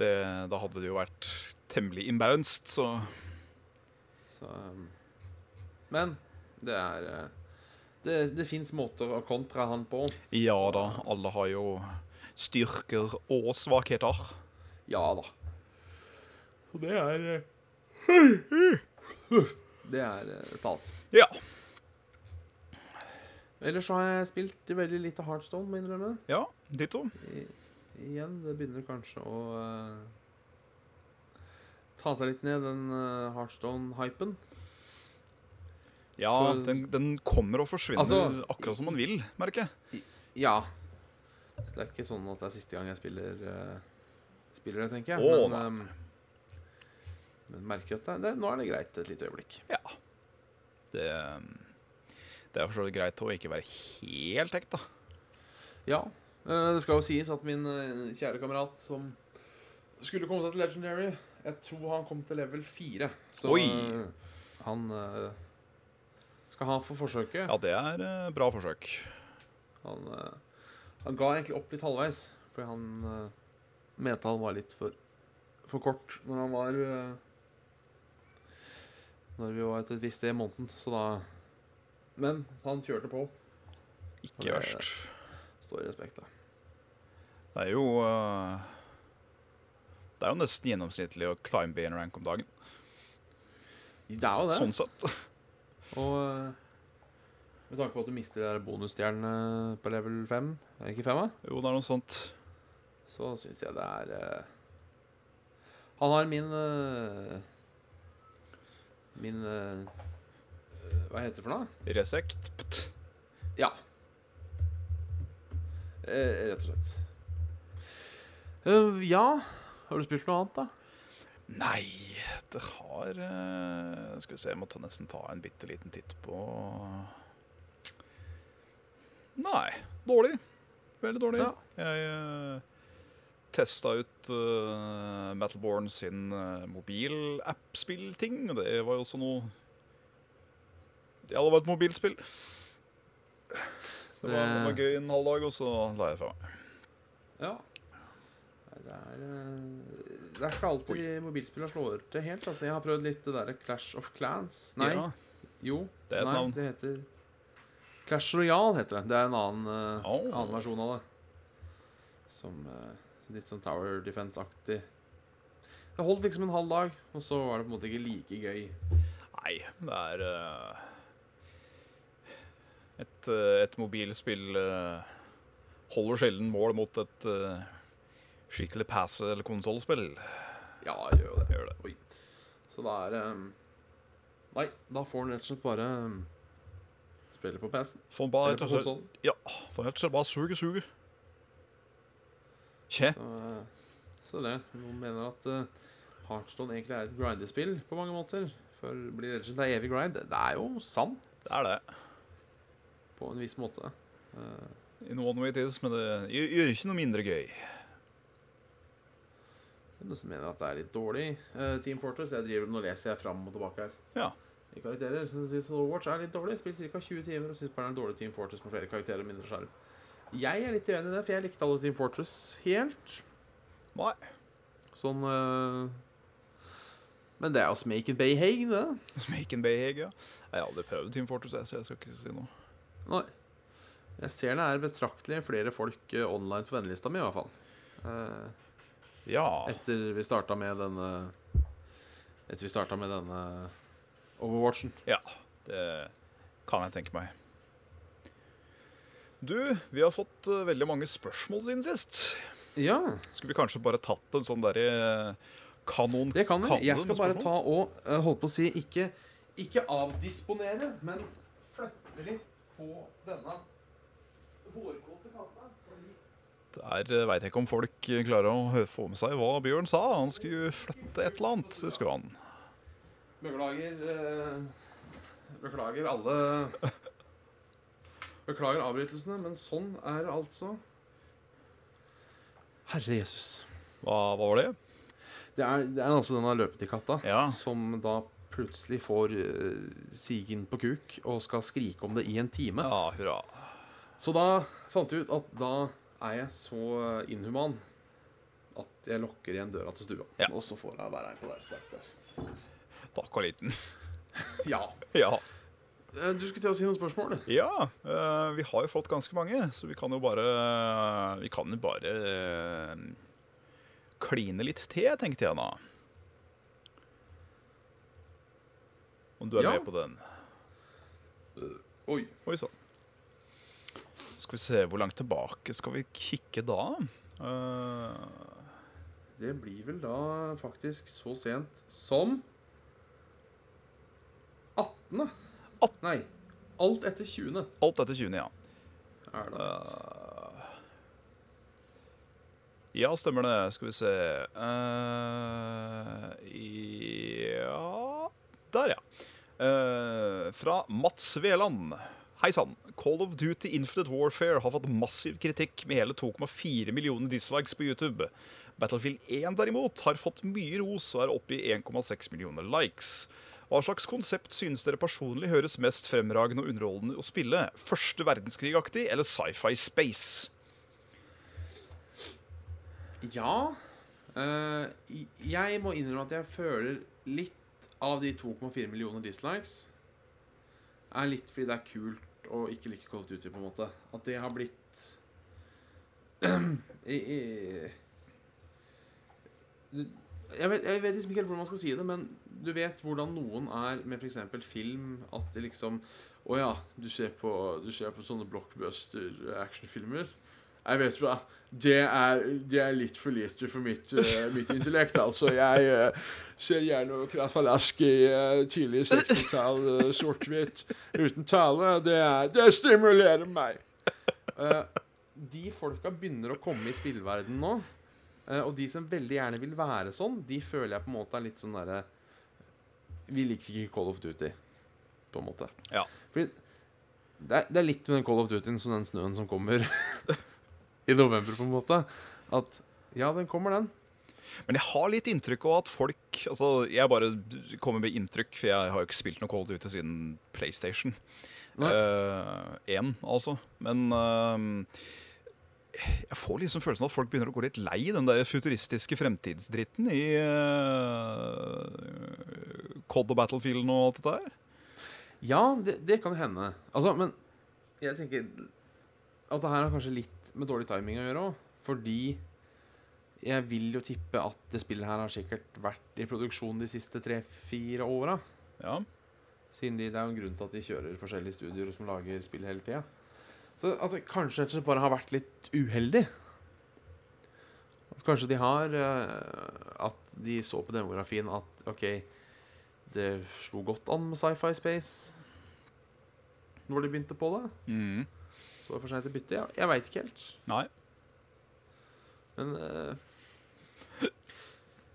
B: det, da hadde det jo vært temmelig imbalanced, så
A: Så, um, men det er eh, Det, det fins måter å kontra han på.
B: ja da, alle har jo styrker og svakheter.
A: Ja da. Så det er eh, Det er eh, stas.
B: Ja.
A: Ellers så har jeg spilt i veldig lite Heartstone, må jeg innrømme.
B: ja Ditto.
A: I, igjen, det begynner kanskje å eh, ta seg litt ned, den eh, Heartstone-hypen.
B: Ja,
A: Så-
B: den, den kommer og forsvinner
A: Altså-
B: akkurat som man vil, merker jeg.
A: Ja. Så det er ikke sånn at det er siste gang jeg spiller eh, Spiller det, tenker jeg.
B: Å,
A: men, ehm, men merker at det, det, nå er det greit et lite øyeblikk.
B: Det, det er for så vidt greit å ikke være helt hekt, da.
A: Ja. eh, det skal jo sies at min eh, kjære kamerat som skulle komme seg til Legendary Jeg tror han kom til level 4. Så
B: Oi!
A: eh, han eh, skal ha for forsøket.
B: Ja, det er eh, bra forsøk.
A: Han, eh, han ga egentlig opp litt halvveis, fordi han eh, mente han var litt for, for kort når han var eh, Når vi var et, et visst sted i måneden, så da Men han kjørte på.
B: Ikke verst.
A: Står i respekt, da.
B: Det er jo eh, Det er jo nesten gjennomsnittlig å climbe i en rank om dagen.
A: Det er jo det.
B: Sånn sett.
A: Og eh, med tanke på at du mister de der bonusstjernene på level 5, er det ikke 5, da?
B: Jo, det er noe sånt.
A: så syns jeg det er eh, Han har min eh, Min eh, Hva heter det for noe?
B: Resekt. Pt.
A: Ja. Eh, rett og slett. Eh, ja Har du spilt noe annet, da?
B: Nei, det har eh, Skal vi se, jeg må ta, nesten ta en bitte liten titt på Nei. Dårlig. Veldig dårlig.
A: Ja.
B: Jeg uh, testa ut eh, Metalborn sin uh, mobilapp-spillting, og det var jo også noe Ja, det var et mobilspill. Det var, det
A: Eh.
B: var gøy en halv dag, og så la jeg det fra meg.
A: Ja. Nei, det er eh, Det er ikke alltid mobilspillene slår til helt. Altså, jeg har prøvd litt det derre Clash of Clans. Nei,
B: Ja,
A: jo.
B: det er et
A: nei,
B: navn.
A: det heter Clash Royale heter det. Det er en annen, eh,
B: Au.
A: annen versjon av det. Som eh, litt sånn Tower Defense-aktig. Det holdt liksom en halv dag, og så var det på en måte ikke like gøy.
B: Nei, det er eh, et, eh, et mobilspill eh, holder sjelden mål mot et eh, skikkelig pass- eller konsollspill.
A: Ja, jeg gjør jo det.
B: Gjør det.
A: Så da er ehm, Nei, da får han rett og slett bare ehm, spille på PC-en.
B: Får bare
A: Eller
B: rett
A: på
B: og slett
A: konsollen.
B: Ja, får rett og slett bare suge, suge. Tje.
A: Så, eh, så det. Noen mener at uh, Heartstone egentlig er et grindespill på mange måter. For det blir rett og slett en evig grind. Det er jo sant
B: Det er det.
A: på en viss måte. Eh,
B: In one way it is, men det gjør gjør ikke noe mindre gøy.
A: det er noen som mener at det er litt dårlig. eh, Team Fortress jeg driver, Nå leser jeg fram og tilbake her.
B: Ja.
A: I karakterer så synes Overwatch er litt dårlig. Spilt ca. 20 timer og syns bare det er en dårlig Team Fortress med flere karakterer og mindre skjerm. Jeg er litt uenig i det, for jeg likte alle Team Fortress helt.
B: Nei.
A: Sånn eh, Men det er jo Smake and Bay Hagen, det.
B: Smaken Bayheg, ja. Jeg har aldri prøvd Team Fortress, jeg, så jeg skal ikke si noe.
A: Nei. Jeg ser det er betraktelig flere folk eh, online på vennelista mi, i hvert fall. Eh,
B: Ja.
A: etter vi starta med denne Etter vi starta med denne Overwatchen.
B: Ja, det kan jeg tenke meg. Du, vi har fått eh, veldig mange spørsmål siden sist.
A: Ja.
B: Skulle vi kanskje bare tatt en sånn derre eh, Kanon
A: Det kan
B: Kan
A: jeg.
B: du
A: Jeg skal
B: med
A: bare
B: spørsmål?
A: ta og eh, holdt på å si ikke, ikke avdisponere, men flytte litt på denne hårkåte katta. fordi-
B: Der veit eh, jeg ikke om folk klarer å hø- få med seg hva Bjørn sa. Han skulle flytte et eller annet. Det skulle han.
A: Beklager eh, Beklager alle Beklager avbrytelsene, men sånn er det altså. Herre Jesus.
B: Hva, hva var det?
A: Det er, det er altså denne løpetikatta.
B: Ja.
A: som da plutselig får eh, sigen på kuk og skal skrike om det i en time.
B: ja, hurra.
A: Så da fant jeg ut at da er jeg så inhuman at jeg lukker igjen døra til stua.
B: Ja.
A: Og så får jeg være her på der. Stakkar.
B: Takk og liten. *laughs*
A: Ja.
B: Ja.
A: Eh, Du skulle til å si noen spørsmål? du.
B: ja eh, vi har jo fått ganske mange, så vi kan jo bare Vi kan jo bare eh, kline litt til, tenkte jeg da. Om du er
A: Ja.
B: med på den.
A: Oi.
B: Oi sann. Skal vi se hvor langt tilbake skal vi kikke da? Eh,
A: Det blir vel da faktisk så sent som 18.
B: Atten.
A: Nei. Alt etter 20.
B: alt etter 20., ja.
A: er det.
B: Eh, ja, stemmer det. Skal vi se Eh, Ja Der, ja. Eh, fra Mats Veland. Hei sann. Call of Duty Infinite Warfare har fått massiv kritikk med hele 2,4 millioner dislikes på YouTube. Battlefield 1 derimot har fått mye ros og er oppe i 1,6 millioner likes. Hva slags konsept synes dere personlig høres mest fremragende og underholdende å spille? Første verdenskrig-aktig eller sci-fi space?
A: Ja. eh, jeg må innrømme at jeg føler litt av de 2,4 millioner dislikes er litt fordi det er kult å ikke like Call of Duty, på en måte. At det har blitt *clears throat* I- i- Du- jeg vet, jeg vet liksom ikke helt hvordan man skal si det, men du vet hvordan noen er med f.eks. film. At det liksom Å ja, du ser på, du ser på sånne blockbuster-actionfilmer. Jeg vet hva. Det er, det er litt for lite for mitt, eh, mitt intellekt, altså. Jeg eh, ser gjerne Krafalask i eh, tidlig 60-tall, eh, sort-hvitt, uten tale. Det, er, det stimulerer meg. Eh, de folka begynner å komme i spillverden nå. eh, og de som veldig gjerne vil være sånn, de føler jeg på en måte er litt sånn derre Vi liker ikke Call of Duty, på en måte.
B: Ja.
A: Fordi det er, det er litt med den Call of Dutyen som den snøen som kommer *laughs* i november, på en måte. At ja, den kommer, den.
B: Men jeg har litt inntrykk av at folk altså Jeg bare kommer med inntrykk, for jeg har jo ikke spilt noe Call of Duty siden PlayStation.
A: Nei.
B: Én, altså. Men eh, jeg får liksom følelsen av at folk begynner å gå litt lei den der futuristiske fremtidsdritten i eh, COD og Battlefield og alt dette her.
A: Ja, det, det kan hende. Altså, men jeg tenker at det her har kanskje litt med dårlig timing å gjøre òg. Fordi jeg vil jo tippe at det spillet her har sikkert vært i produksjon de siste tre-fire åra.
B: Ja.
A: Siden de, det er jo en grunn til at de kjører forskjellige studioer som lager spill hele tida. Så at det kanskje rett og slett bare har vært litt uheldig. At kanskje de har eh, At de så på demografien at OK, det slo godt an med sci-fi space når de begynte på det.
B: Mm.
A: Så var det for seint å bytte. Jeg, jeg veit ikke helt.
B: Nei.
A: Men eh,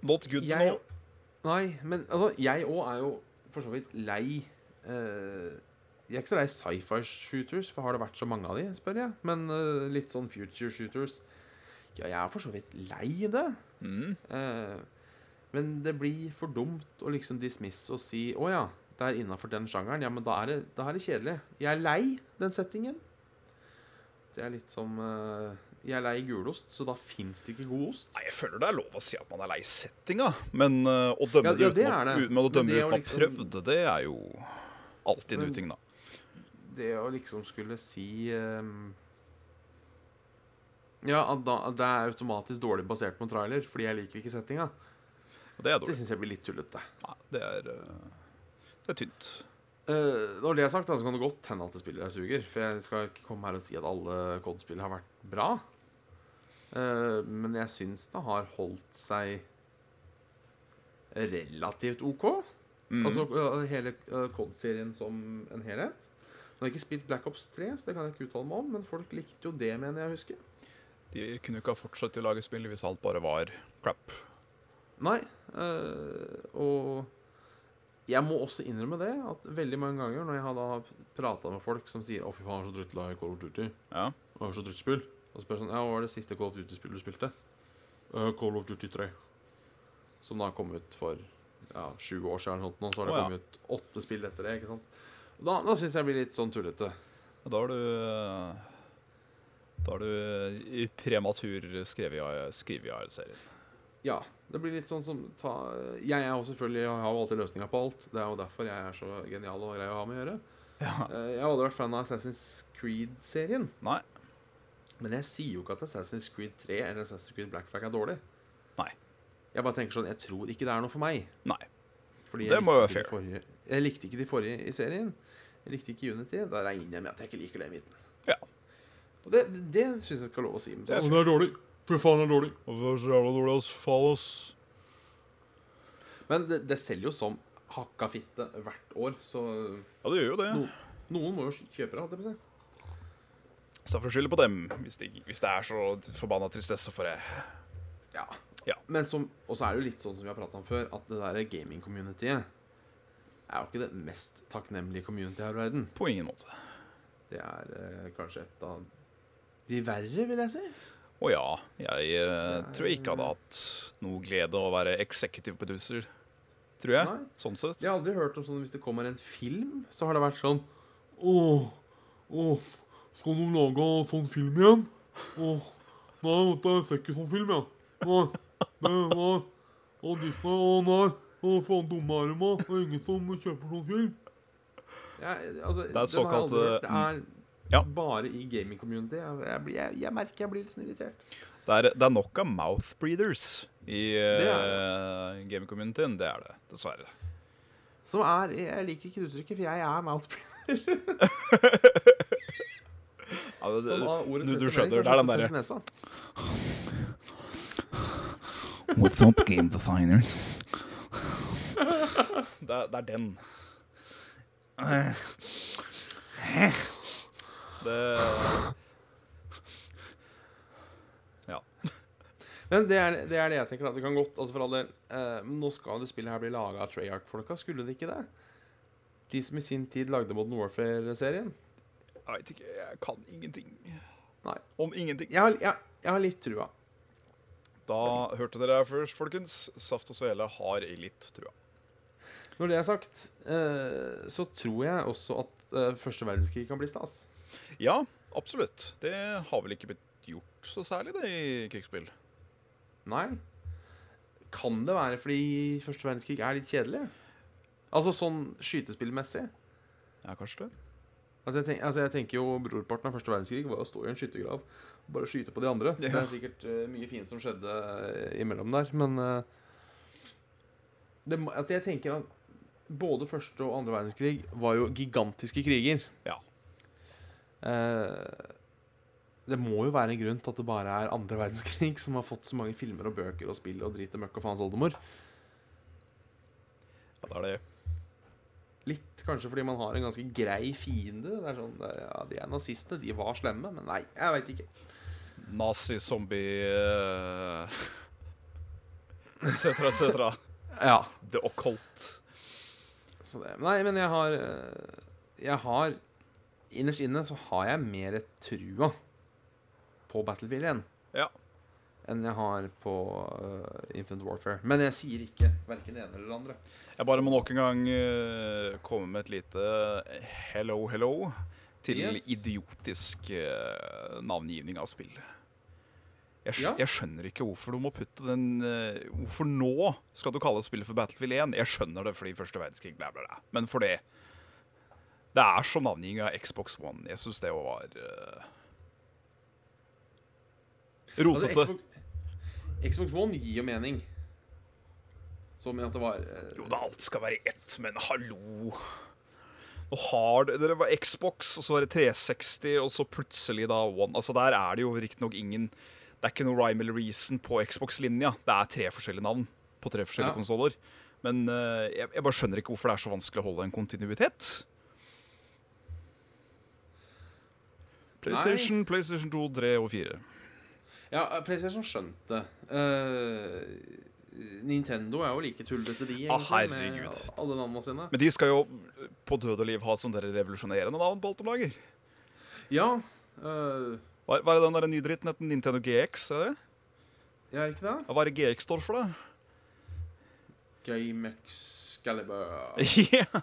B: Not good to
A: jeg,
B: know.
A: Nei, men altså, jeg òg er jo for så vidt lei eh, Jeg er ikke så lei sci-fi shooters, for har det vært så mange av de, spør jeg. Men eh, litt sånn future shooters Ja, jeg er for så vidt lei det.
B: Mm.
A: eh, men det blir for dumt å liksom dismisse og si å ja, det er innafor den sjangeren. Ja, men da er, det, da er det kjedelig. Jeg er lei den settingen. Det er litt som eh, Jeg er lei gulost, så da fins det ikke god ost.
B: Nei, Jeg føler det er lov å si at man er lei settinga, men øh, å
A: Ja,
B: dømme
A: ja,
B: det
A: det
B: uten å,
A: er det.
B: ut- men å
A: Men
B: dømme
A: det er
B: uten å
A: jo
B: ha
A: liksom-
B: prøvd, det er jo alltid en
A: Men-
B: uting, da.
A: det å liksom skulle si ehm, Ja, at, da, at det er automatisk dårlig basert på en trailer, fordi jeg liker ikke settinga.
B: Og Det er
A: Det
B: dårlig.
A: syns jeg blir litt tullete.
B: Nei, det er, øh, det er tynt.
A: Eh, når det er sagt, da, så kan det godt hende at det spillet her suger. For jeg skal ikke komme her og si at alle Cod-spill har vært bra. Eh, men jeg syns det har holdt seg relativt OK.
B: Mm.
A: Altså eh, hele eh, Cod-serien som en helhet. Nå har jeg ikke spilt Black Ops 3, så det kan jeg ikke uttale meg om, men folk likte jo det, mener jeg å huske.
B: De kunne jo ikke ha fortsatt å lage spill hvis alt bare var crap.
A: Nei. eh, og jeg må også innrømme det, at veldig mange ganger når jeg har da prata med folk som sier 'Å, fy faen, jeg er så drittglad i Call of Duty',
B: Ja.
A: jeg er så drittspill, og spør jeg sånn 'Ja, hva var det siste Call of Duty-spillet du spilte?' «Eh, 'Call of Duty 3'. Som da kom ut for ja, sju år siden, eller noe sånt, nå, så har det
B: Å, ja.
A: kommet ut åtte spill etter det. ikke sant? Da, da syns jeg det blir litt sånn tullete.
B: Da har du eh, Da har du eh, i prematur skrivejarl-serien.
A: Ja. Det blir litt sånn som ta, Jeg er jo selvfølgelig, jeg har jo alltid løsninga på alt. Det er jo derfor jeg er så genial og grei å ha med å gjøre.
B: Ja.
A: Eh, Jeg har aldri vært fan av Assassin's Creed-serien.
B: Nei.
A: Men jeg sier jo ikke at Assassin's Creed 3 eller Assassin's Creed Black Flag er dårlig.
B: Nei.
A: Jeg bare tenker sånn, jeg tror ikke det er noe for meg.
B: Nei.
A: Fordi
B: Det
A: jeg
B: må
A: likte
B: være
A: ikke de forrige- Jeg likte ikke de forrige i serien. Jeg likte ikke Unity. Da regner jeg med at jeg ikke liker det i midten.
B: Ja.
A: Og det, det syns jeg skal ha lov å si. Men
B: Det er
A: sånn, «Å, er dårlig. Fy faen, det er dårlig.
B: Hvorfor så jævla dårlig, ass? Faen, ass.
A: Men det, det selger jo som hakka fitte hvert år, så
B: Ja, det gjør jo det.
A: No- noen må jo kjøpe det, holdt jeg på å si.
B: Så derfor skylder på dem, hvis det, hvis det er så forbanna tristesse for det.
A: Ja.
B: Ja.
A: Men som, og så er det jo litt sånn som vi har pratet om før, at det der gaming-communityet er jo ikke det mest takknemlige communityet her i verden.
B: På ingen måte.
A: Det er eh, kanskje et av de verre, vil jeg si.
B: Å ja, jeg eh,
A: Nei.
B: tror jeg ikke hadde hatt noe glede av å være executive producer. Tror jeg.
A: Nei.
B: Sånn sett.
A: Jeg har aldri hørt om sånn hvis det kommer en film, så har det vært sånn Åh, åh, skal du lage sånn film igjen? Åh, nei, vet du, jeg ser ikke sånn film, jeg. Nei, det var Å, Disney, å nei. Å, faen dumme er de, da. Det er ingen som kjøper sånn film. altså,
B: Det er
A: den har jeg aldri
B: såkalt, eh,
A: hørt. Det er
B: ja.
A: bare i gaming-community. Jeg, jeg, blir- jeg, jeg merker jeg blir litt sånn irritert.
B: Det er, det er nok av mouth breathers i
A: Det
B: uh, gaming-communityen. Det er det, dessverre.
A: Som er Jeg liker ikke det uttrykket, for jeg er mouthprint.
B: Ja, det, du, du skjønner, det er den derre
A: derre Sånn.
B: What's up, game designers? *laughs* det, er- det er den. Det Ja.
A: Men det er, det er det jeg tenker. at Det kan godt, altså for all del, eh, Nå skal det spillet her bli laga av Treyarch-folka. Skulle det ikke det? De som i sin tid lagde Modern Warfare-serien.
B: Jeg veit ikke. Jeg kan ingenting.
A: Nei.
B: Om ingenting.
A: Jeg, har- jeg, jeg har litt trua.
B: Da hørte dere her først, folkens. Saft og Svele har litt trua.
A: Når det er sagt, eh, så tror jeg også at eh, første verdenskrig kan bli stas.
B: Ja, absolutt. Det har vel ikke blitt gjort så særlig, det, i krigsspill.
A: Nei. Kan det være fordi første verdenskrig er litt kjedelig? Altså sånn skytespillmessig.
B: Ja, kanskje det.
A: Altså jeg, tenk, altså jeg tenker jo Brorparten av første verdenskrig var å stå i en skyttergrav og bare skyte på de andre.
B: Ja.
A: Det er sikkert eh, mye fint som skjedde eh, imellom der, men eh, det, må- altså Jeg tenker at både første og andre verdenskrig var jo gigantiske kriger.
B: Ja.
A: Eh, det må jo være en grunn til at det bare er andre verdenskrig som har fått så mange filmer og bøker og spill og drit og møkk og faens oldemor.
B: Ja, det er det.
A: Litt kanskje fordi man har en ganske grei fiende. Det er sånn, det er- ja, De er nazistene, de var slemme, men nei, jeg veit ikke.
B: Nazi-zombie eh, *laughs* Et cetera, et cetera.
A: Ja.
B: The occult.
A: Så det, nei, men jeg har øh, Jeg har Innerst inne så har jeg mer trua på Battlefield 1
B: Ja.
A: enn jeg har på øh, Infinite Warfare. Men jeg sier ikke verken det ene eller det andre.
B: Jeg bare må nok en gang eh, komme med et lite eh, hello, hello til
A: Yes.
B: idiotisk eh, navngivning av spill. Jeg, skj
A: Ja.
B: jeg skjønner ikke hvorfor du må putte den eh, Hvorfor nå skal du kalle spillet for Battlefield 1? Jeg skjønner det fordi første verdenskrig, bla, bla, bla. Men for det Det er som navngiving av Xbox One. Jeg syns det var eh,
A: Altså,
B: Rotete.
A: Xbox, Altså, Xbox One gir jo mening. Som i at det var øh,
B: Jo da, alt skal være ett, men hallo. Nå har det, Dere var Xbox, og så var det 360, og så plutselig da One. Altså Der er det jo riktignok ingen Det er ikke noe rhyme eller reason på Xbox-linja. Det er tre forskjellige navn på tre forskjellige
A: Ja.
B: konsoller. Men eh, jeg, jeg bare skjønner ikke hvorfor det er så vanskelig å holde en kontinuitet. PlayStation, PlayStation 2, 3 og 4.
A: Ja, eh, PlayStation skjønte det. Nintendo er jo like tullete, de,
B: Ah,
A: egentlig,
B: herregud.
A: med alle navnene sine.
B: Men de skal jo på død og liv ha sånne der revolusjonerende navn på alt om dager.
A: Ja, eh,
B: Hva, hva er den der nye dritten? heter? Nintendo GX? Er det?
A: ja, er ikke det?
B: Ja, Hva er det GX står for, da? *laughs*
A: Game Excalibur Hva
B: Ja.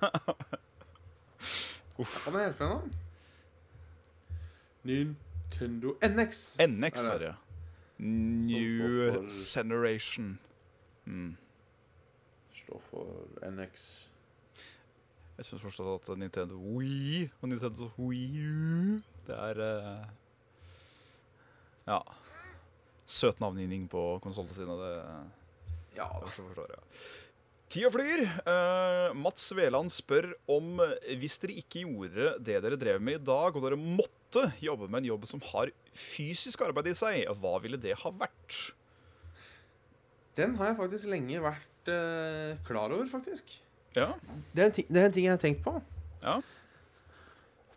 A: var det den het for noe? Nintendo NX.
B: NX,
A: Er
B: er
A: det.
B: det. New
A: Som står for-
B: Generation. Mm.
A: Står for NX.
B: Jeg syns fortsatt at Nintendo Wii og Nintendo Wii U Det er eh, Ja. Søt navngivning på konsollene sine. Det
A: Ja
B: Ja,
A: da.
B: så forstår jeg. Tida flyr. Eh, Mats Veland spør om eh, hvis dere ikke gjorde det dere drev med i dag, og dere måtte jobbe med en jobb som har fysisk arbeid i seg, hva ville det ha vært?
A: Den har jeg faktisk lenge vært eh, klar over, faktisk.
B: Ja,
A: Det er, en ting, det er en ting jeg har tenkt på.
B: Ja.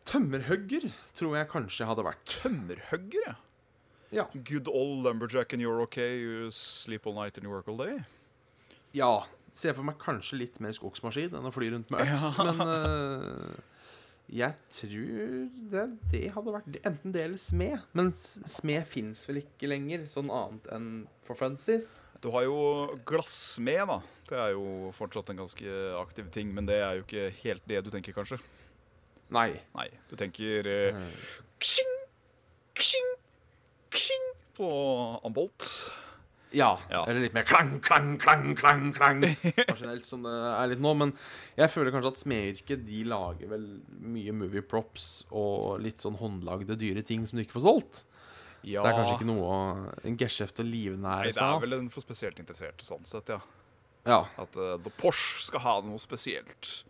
A: Tømmerhugger tror jeg kanskje jeg hadde vært.
B: Tømmerhugger, ja.
A: Ja.
B: Good old lumberjack and you're okay, you sleep all night and you work all day.
A: ja. Ser for meg kanskje litt mer skogsmaskin enn å fly rundt med øks, men eh, jeg tror det, det hadde vært det- enten det eller smed. Men s- smed fins vel ikke lenger, sånn annet enn for funsies.
B: Du har jo glassmed, da. Det er jo fortsatt en ganske aktiv ting, men det er jo ikke helt det du tenker, kanskje.
A: Nei.
B: Nei, du tenker eh, ksing, ksing, ksing på ambolt.
A: Ja,
B: Ja.
A: eller litt mer klang, klang, klang, klang,
B: *laughs*
A: klang. Kanskje helt som det er litt nå, men jeg føler kanskje at smedyrket de lager vel mye movie props og litt sånn håndlagde, dyre ting som du ikke får solgt.
B: Ja,
A: Det er kanskje ikke noe å- en geskjeft å
B: Nei,
A: livnære
B: det er
A: seg av.
B: vel en for spesielt interesserte, sånn sett, ja.
A: Ja,
B: At eh, The Porsche skal ha noe spesielt.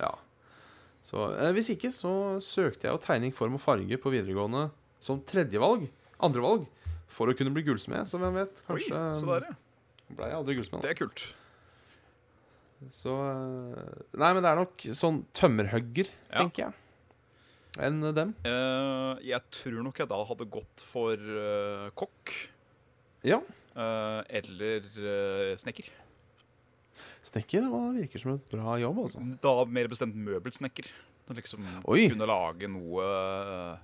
A: ja. Så eh, hvis ikke, så søkte jeg jo tegning, form og farge på videregående som tredjevalg. Andrevalg. For å kunne bli gullsmed, så hvem vet.
B: Oi,
A: Kanskje eh, um,
B: så der, ja.
A: ble jeg aldri gullsmed. da.
B: Det er kult.
A: Så eh, Nei, men det er nok sånn tømmerhugger,
B: Ja.
A: tenker jeg. Enn dem.
B: Eh, jeg tror nok jeg da hadde gått for eh, kokk
A: Ja.
B: eh, eller eh, snekker.
A: Snekker og virker som et bra jobb, altså.
B: Da mer bestemt møbelsnekker. Å Liksom
A: Oi.
B: kunne lage noe eh,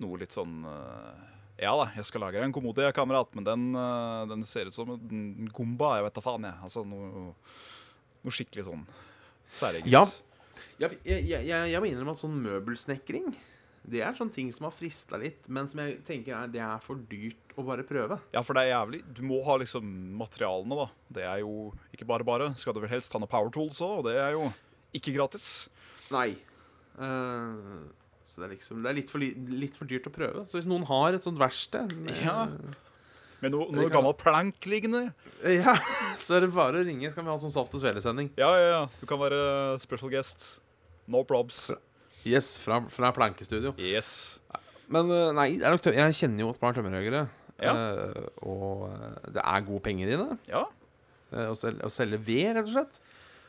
B: Noe litt sånn eh, Ja da, jeg skal lage deg en kommode, jeg, kamerat, men den, eh, den ser ut som en gomba. Jeg vet da faen, jeg. Altså noe, noe skikkelig sånn særegent.
A: Ja. Jeg, jeg, jeg, jeg må innrømme at sånn møbelsnekring det er sånn ting som har frista litt, men som jeg tenker er, det er for dyrt å bare prøve.
B: Ja, for det er jævlig. Du må ha liksom materialene, da. Det er jo ikke bare bare. Skal du vel helst ha noe power tools òg, og det er jo ikke gratis.
A: Nei. Eh, så det er liksom Det er litt for, ly- litt for dyrt å prøve. Så hvis noen har et sånt verksted eh, med-
B: Ja. Med noe, noe
A: Det kan-
B: gammel plank liggende.
A: *laughs* ja, så er det bare å ringe. Så kan vi ha sånn Saft og Svele-sending.
B: Ja, ja, ja. Du kan være eh, special guest. No probs.
A: Yes, fra, fra plankestudio.
B: Yes.
A: Men eh, nei, det er nok tø jeg kjenner jo et par tømmerhøgere.
B: Ja.
A: eh, og eh, det er gode penger i det.
B: Ja.
A: eh, å, sel å selge ved, rett og slett.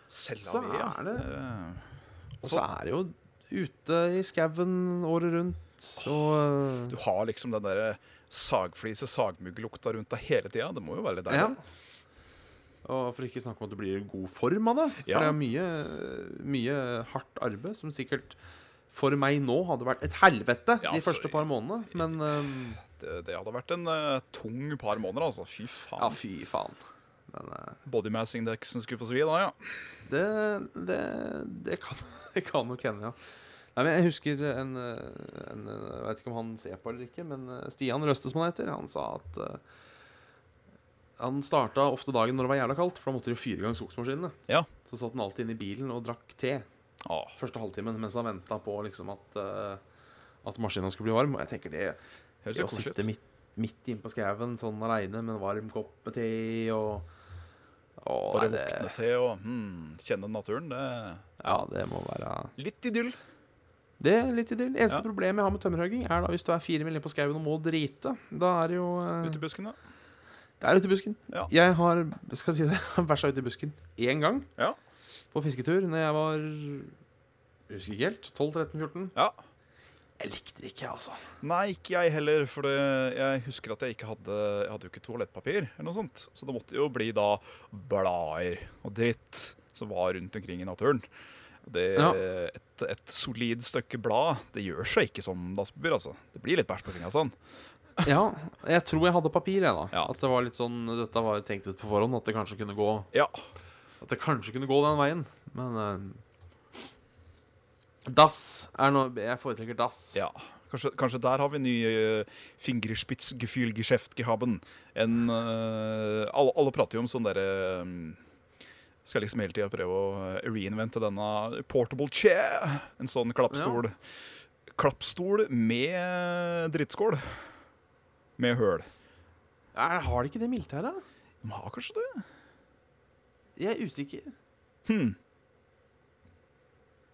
B: Selja
A: Så
B: ved, ja.
A: er det-
B: Eh,
A: Og så er det jo ute i skauen året rundt. Og eh,
B: Du har liksom den derre sagflise, sagmugglukta rundt deg hele tida. Det må jo være litt
A: ja.
B: deilig.
A: Og for ikke snakke om at du blir i god form av det. For
B: Ja.
A: det er mye, mye hardt arbeid som sikkert for meg nå hadde vært et helvete de
B: Ja, altså,
A: første par månedene. Men eh,
B: Det, det hadde vært en eh, tung par måneder, altså. Fy
A: ja,
B: faen.
A: fy faen. Men eh,
B: Bodymass-indeksen skulle få svi da, ja.
A: Det, det, det, kan, *laughs* det kan nok hende, ja. Nei, men Jeg husker en, eh, en eh, Jeg vet ikke om han ser på eller ikke, men eh, Stian Røste, som han heter, han sa at eh, han starta ofte dagen når det var jævla kaldt, for da måtte de jo fyre i gang skogsmaskinene.
B: Ja.
A: Så satt han alltid inne i bilen og drakk te
B: Ah,
A: første halvtimen mens han venta på liksom at, eh, at maskina skulle bli varm. Og jeg tenker det
B: høres
A: det å
B: jo koselig
A: sitte
B: ut.
A: midt, midt inne på skauen sånn aleine med en varm kopp med te og Å,
B: Bare
A: nei, det,
B: våkne til og hmm, kjenne naturen. Det er
A: ja, det må være
B: litt idyll.
A: Det er litt idyll. Eneste
B: Ja.
A: problemet jeg har med tømmerhogging, er da hvis du er fire mil inne på skauen og må drite. Da er det jo eh,
B: Ute i buskene.
A: Det er ute i busken.
B: Ja.
A: Jeg har skal jeg si det, *laughs* bæsja ute i busken én gang.
B: Ja.
A: På fisketur når jeg var jeg husker ikke helt. 12-13-14.
B: Ja.
A: Jeg likte det ikke, altså.
B: Nei, ikke jeg heller, for det, jeg husker at jeg ikke hadde Jeg hadde jo ikke toalettpapir, eller noe sånt. Så det måtte jo bli da blader og dritt som var rundt omkring i naturen. Det,
A: Ja.
B: et, et solid stykke blad Det gjør seg ikke som dasspapir, altså. Det blir litt bæsj på fingra sånn.
A: *laughs* Ja, Jeg tror jeg hadde papir, jeg, da.
B: Ja.
A: At det var litt sånn, Dette var tenkt ut på forhånd, at det kanskje kunne gå
B: Ja.
A: At det kanskje kunne gå den veien. Men eh, Dass er noe Jeg foretrekker dass.
B: ja. Kanskje, kanskje der har vi ny uh, Fingerspitzgefühlgeschäftgehaben. En eh, alle, alle prater jo om sånn derre eh, Skal liksom hele tida prøve å eh, reinvente denne portable chair. En sånn klappstol. Klappstol med drittskål. Med høl.
A: Er, har de ikke det mildt her, da?
B: De har kanskje det?
A: Jeg er usikker.
B: Hmm.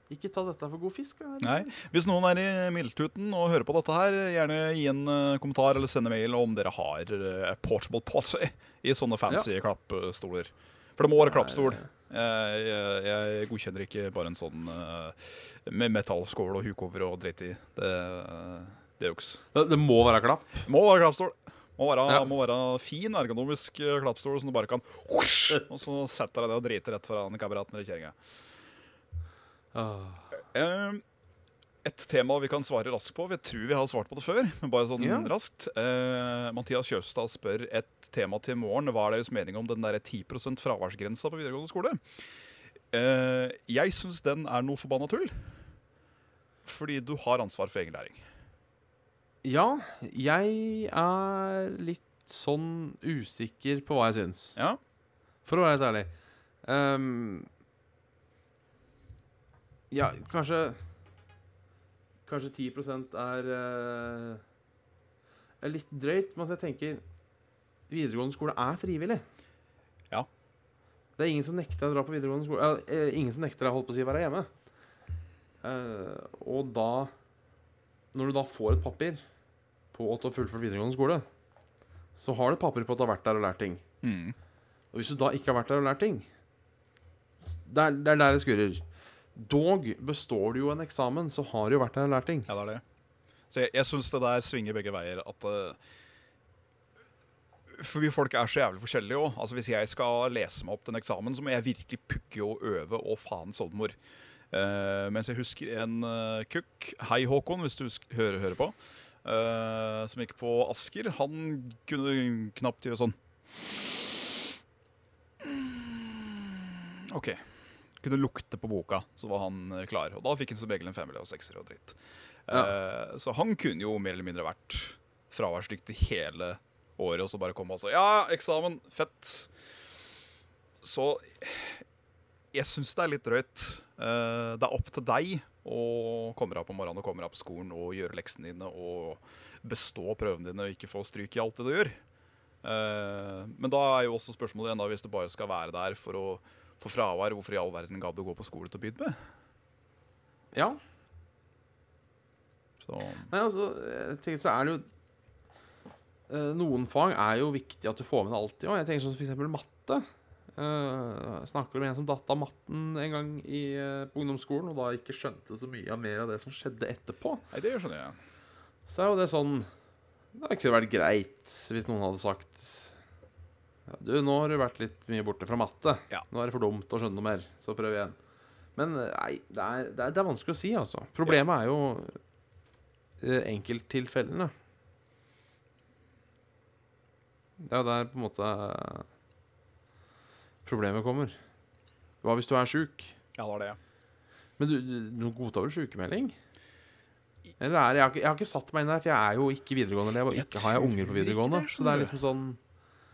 A: Ikke ta dette for god fisk. da.
B: Nei. Hvis noen er i Mildtuten og hører på dette her, gjerne gi en eh, kommentar eller sende mail om dere har eh, portable potty i sånne fancy klappstoler. For det må være klappstol. Jeg, jeg, jeg godkjenner ikke bare en sånn eh, med metallskål og hukover og dritt i. Det, det er juks.
A: Det, det må være klapp.
B: Må være klappstol. Må være,
A: Ja.
B: må være fin, ergonomisk eh, klappstol som du bare kan whoosh, Og så setter deg ned og driter rett foran kameraten eller kjerringa.
A: Ah.
B: Eh, Et tema vi kan svare raskt på. for Jeg tror vi har svart på det før. men bare sånn
A: Ja.
B: raskt. Eh, Mathias Kjøstad spør et tema til i morgen. Hva er deres mening om den der 10 fraværsgrensa på videregående skole? Eh, jeg syns den er noe forbanna tull. Fordi du har ansvar for egen læring.
A: Ja, jeg er litt sånn usikker på hva jeg syns.
B: Ja,
A: For å være helt ærlig. Ehm, ja, kanskje Kanskje 10 er, eh, er litt drøyt. Men altså, jeg tenker videregående skole er frivillig.
B: Ja.
A: Det er ingen som nekter deg å dra på videregående skole. eh, eh, ingen som nekter deg holdt på å si, å være hjemme. Eh, og da Når du da får et papir på at du har fullført videregående skole, så har du et papir på at du har vært der og lært ting.
B: mm.
A: Og hvis du da ikke har vært der og lært ting Det er, det er der det skurrer. Dog består du jo en eksamen, så har du jo vært der og lært ting.
B: ja det er det. Så jeg, jeg syns det der svinger begge veier. At eh, for vi folk er så jævlig forskjellige òg. Altså, hvis jeg skal lese meg opp til en eksamen, så må jeg virkelig pukke og øve og faen oldemor. Eh, mens jeg husker en eh, kukk Hei, Håkon, hvis du husk- hører, hører på. eh, som gikk på Asker. Han kunne knapt gjøre sånn. OK. Kunne lukte på boka, så var han eh, klar. Og da fikk han som regel en femmer og sekser og dritt. Eh, Så han kunne jo mer eller mindre vært fraværsdyktig hele året, og så bare komme og så Ja, eksamen! Fett! Så jeg syns det er litt drøyt. Eh, Det er opp til deg å komme deg opp om morgenen og komme deg opp på skolen og gjøre leksene dine og bestå prøvene dine og ikke få stryk i alt det du gjør. Eh, Men da er jo også spørsmålet igjen da, hvis du bare skal være der for å få fravær, hvorfor i all verden gadd du å gå på skole til å begynne med?
A: Ja.
B: Så,
A: Nei, altså, jeg tenker så er det jo eh, Noen fag er jo viktig at du får med deg alltid. Og jeg tenker sånn som for eksempel matte. Eh, jeg snakker om en som datt av matten en gang i, eh, på ungdomsskolen, og da ikke skjønte så mye av mer av det som skjedde etterpå.
B: nei, det sånn, skjønner jeg.
A: Så er jo det sånn Det kunne vært greit hvis noen hadde sagt ja, Du, nå har du vært litt mye borte fra matte.
B: Ja.
A: Nå er det for dumt å skjønne noe mer. Så prøv igjen. Men nei, det er, det er, det er vanskelig å si, altså. Problemet er jo eh, enkelttilfellene. Det er jo der på en måte eh, problemet kommer. Hva hvis du er sjuk?
B: Ja, det er det.
A: Men du, du, du godtar vel sykemelding? Eller er det, jeg, har ikke, jeg har ikke satt meg inn der, for jeg er jo ikke videregående-elev, og
B: Jeg
A: ikke har jeg unger
B: tror
A: på
B: ikke
A: videregående.
B: det,
A: så det er
B: skjønner
A: liksom sånn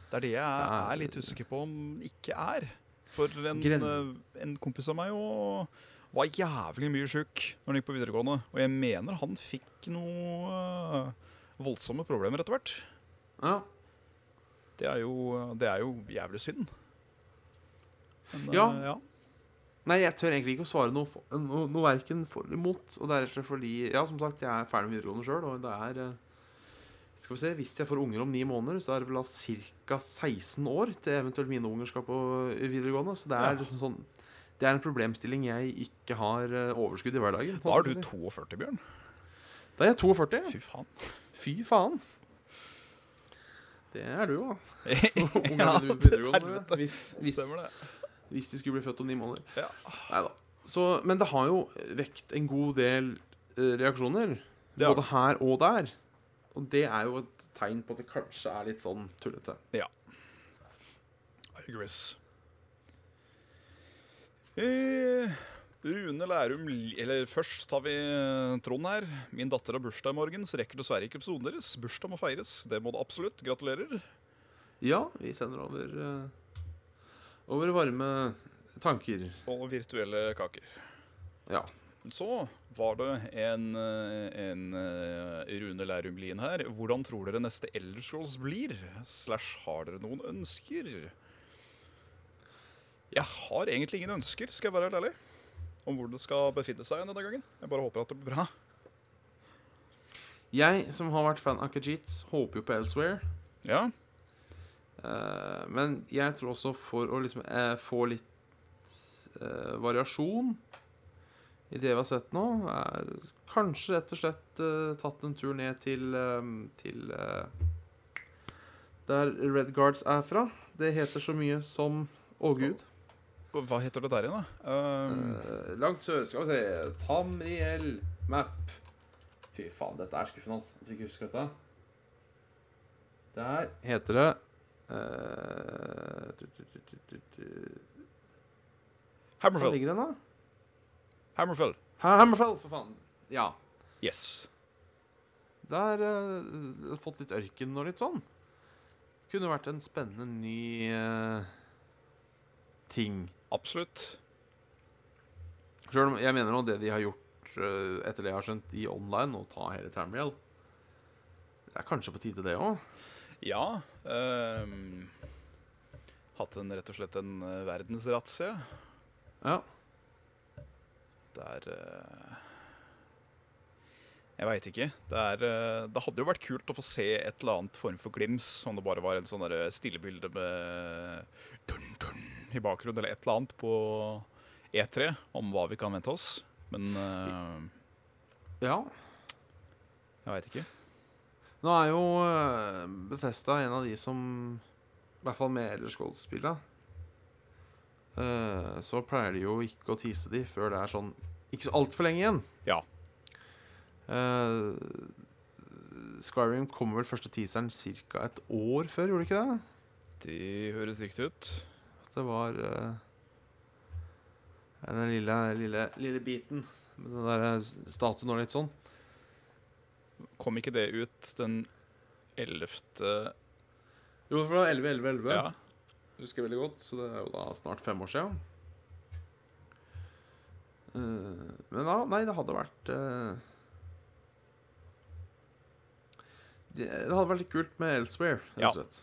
B: Det er det jeg
A: Det er-
B: er litt usikker på om ikke er. For en,
A: Gren-
B: eh, en kompis av meg jo var jævlig mye sjuk når han gikk på videregående. Og jeg mener han fikk noe eh, voldsomme problemer etter hvert.
A: Ja,
B: Det er jo, det er jo jævlig synd. Men, eh,
A: Ja.
B: ja.
A: Nei, jeg tør egentlig ikke å svare noe, for, noe, noe verken for eller imot. Og det er rett og slett fordi Ja, som sagt, jeg er ferdig med videregående sjøl, og det er eh, Skal vi se, Hvis jeg får unger om ni måneder, så er det vel da ca. 16 år til eventuelt mine unger skal på eh, videregående. Så det er
B: Ja.
A: liksom sånn Det er en problemstilling jeg ikke har eh, overskudd i hverdagen.
B: Da er du
A: holdt jeg på å
B: 42, Bjørn.
A: si. Da er jeg 42.
B: Fy faen.
A: Fy faen. Det er du
B: *laughs*
A: òg. Ungene
B: Ja,
A: du på
B: til
A: videregående.
B: helvete.
A: Hvis, hvis,
B: Stemmer det.
A: hvis de skulle bli født om ni måneder.
B: Ja.
A: Neida. Så, men det har jo vekt en god del eh, reaksjoner,
B: Det har
A: både her og der. Og det er jo et tegn på at det kanskje er litt sånn tullete.
B: Gris. Eh, Rune Lærum Li- Eller først tar vi eh, Trond her. Min datter har bursdag i morgen, så rekker dessverre ikke episoden deres. Bursdag må feires. Det må det absolutt. Gratulerer.
A: Ja, vi sender over eh, Over varme tanker.
B: Og virtuelle kaker.
A: Ja.
B: Så var det en, eh, en eh, Rune Lærum Lien her. Hvordan tror dere neste Elderscrolls blir? Slash, har dere noen ønsker? Jeg har egentlig ingen ønsker, skal jeg være helt ærlig. Om hvor det skal befinne seg denne gangen. Jeg bare håper at det blir bra.
A: Jeg som har vært fan av Khajiits, håper jo på Elsewhere.
B: Ja,
A: Eh, men jeg tror også for å liksom eh, få litt eh, variasjon i det vi har sett nå, er kanskje rett og slett eh, tatt en tur ned til, eh, til eh, der Red Guards er fra. Det heter så mye som Å, gud.
B: og Hva heter det der igjen, da? Um,
A: Eh, langt sør, skal vi se. Tamriel map. Fy faen, dette er skuffende, altså. At vi ikke husker dette. Der heter det eh, tu, tu, tu, tu, tu, tu. Hvor
B: Hammerfell.
A: ligger den, da?
B: Hammerfell.
A: Ha- Hammerfell, for faen. Ja.
B: Yes.
A: Der eh, fått litt ørken og litt sånn. Kunne vært en spennende ny eh, ting.
B: Absolutt.
A: Selv om jeg mener nå det de har gjort eh, etter det jeg har skjønt i online, å ta hele Tamriel Det er kanskje på tide, det òg.
B: Ja. Um, hatt en rett og slett en eh, verdensrazzia.
A: Ja.
B: Det er eh, Jeg veit ikke. Det, er, eh, det hadde jo vært kult å få se et eller annet form for glims, om det bare var en sånn derre stillebilde med dun, dun, i bakgrunnen, eller et eller annet på E3, om hva vi kan vente oss. Men eh,
A: ja.
B: jeg veit ikke.
A: Nå er jo eh, Bethesda en av de som I hvert fall med Ellers Gold-spilla. så pleier de jo ikke å tease de før det er sånn ikke så altfor lenge igjen.
B: Ja.
A: Eh, Skyrim kommer vel første teaseren ca. et år før, gjorde det ikke det?
B: Det høres riktig ut.
A: At det var eh, den lille, lille, lille biten med den der statuen og litt sånn.
B: Kom ikke det ut den 11.
A: Jo, for det var 11, 11, 11.
B: Ja.
A: Husker jeg veldig godt, så det er jo da snart fem år siden. Eh, men da, nei, det hadde vært eh, det, det hadde vært litt kult med Elsewhere, rett
B: Ja.
A: og slett.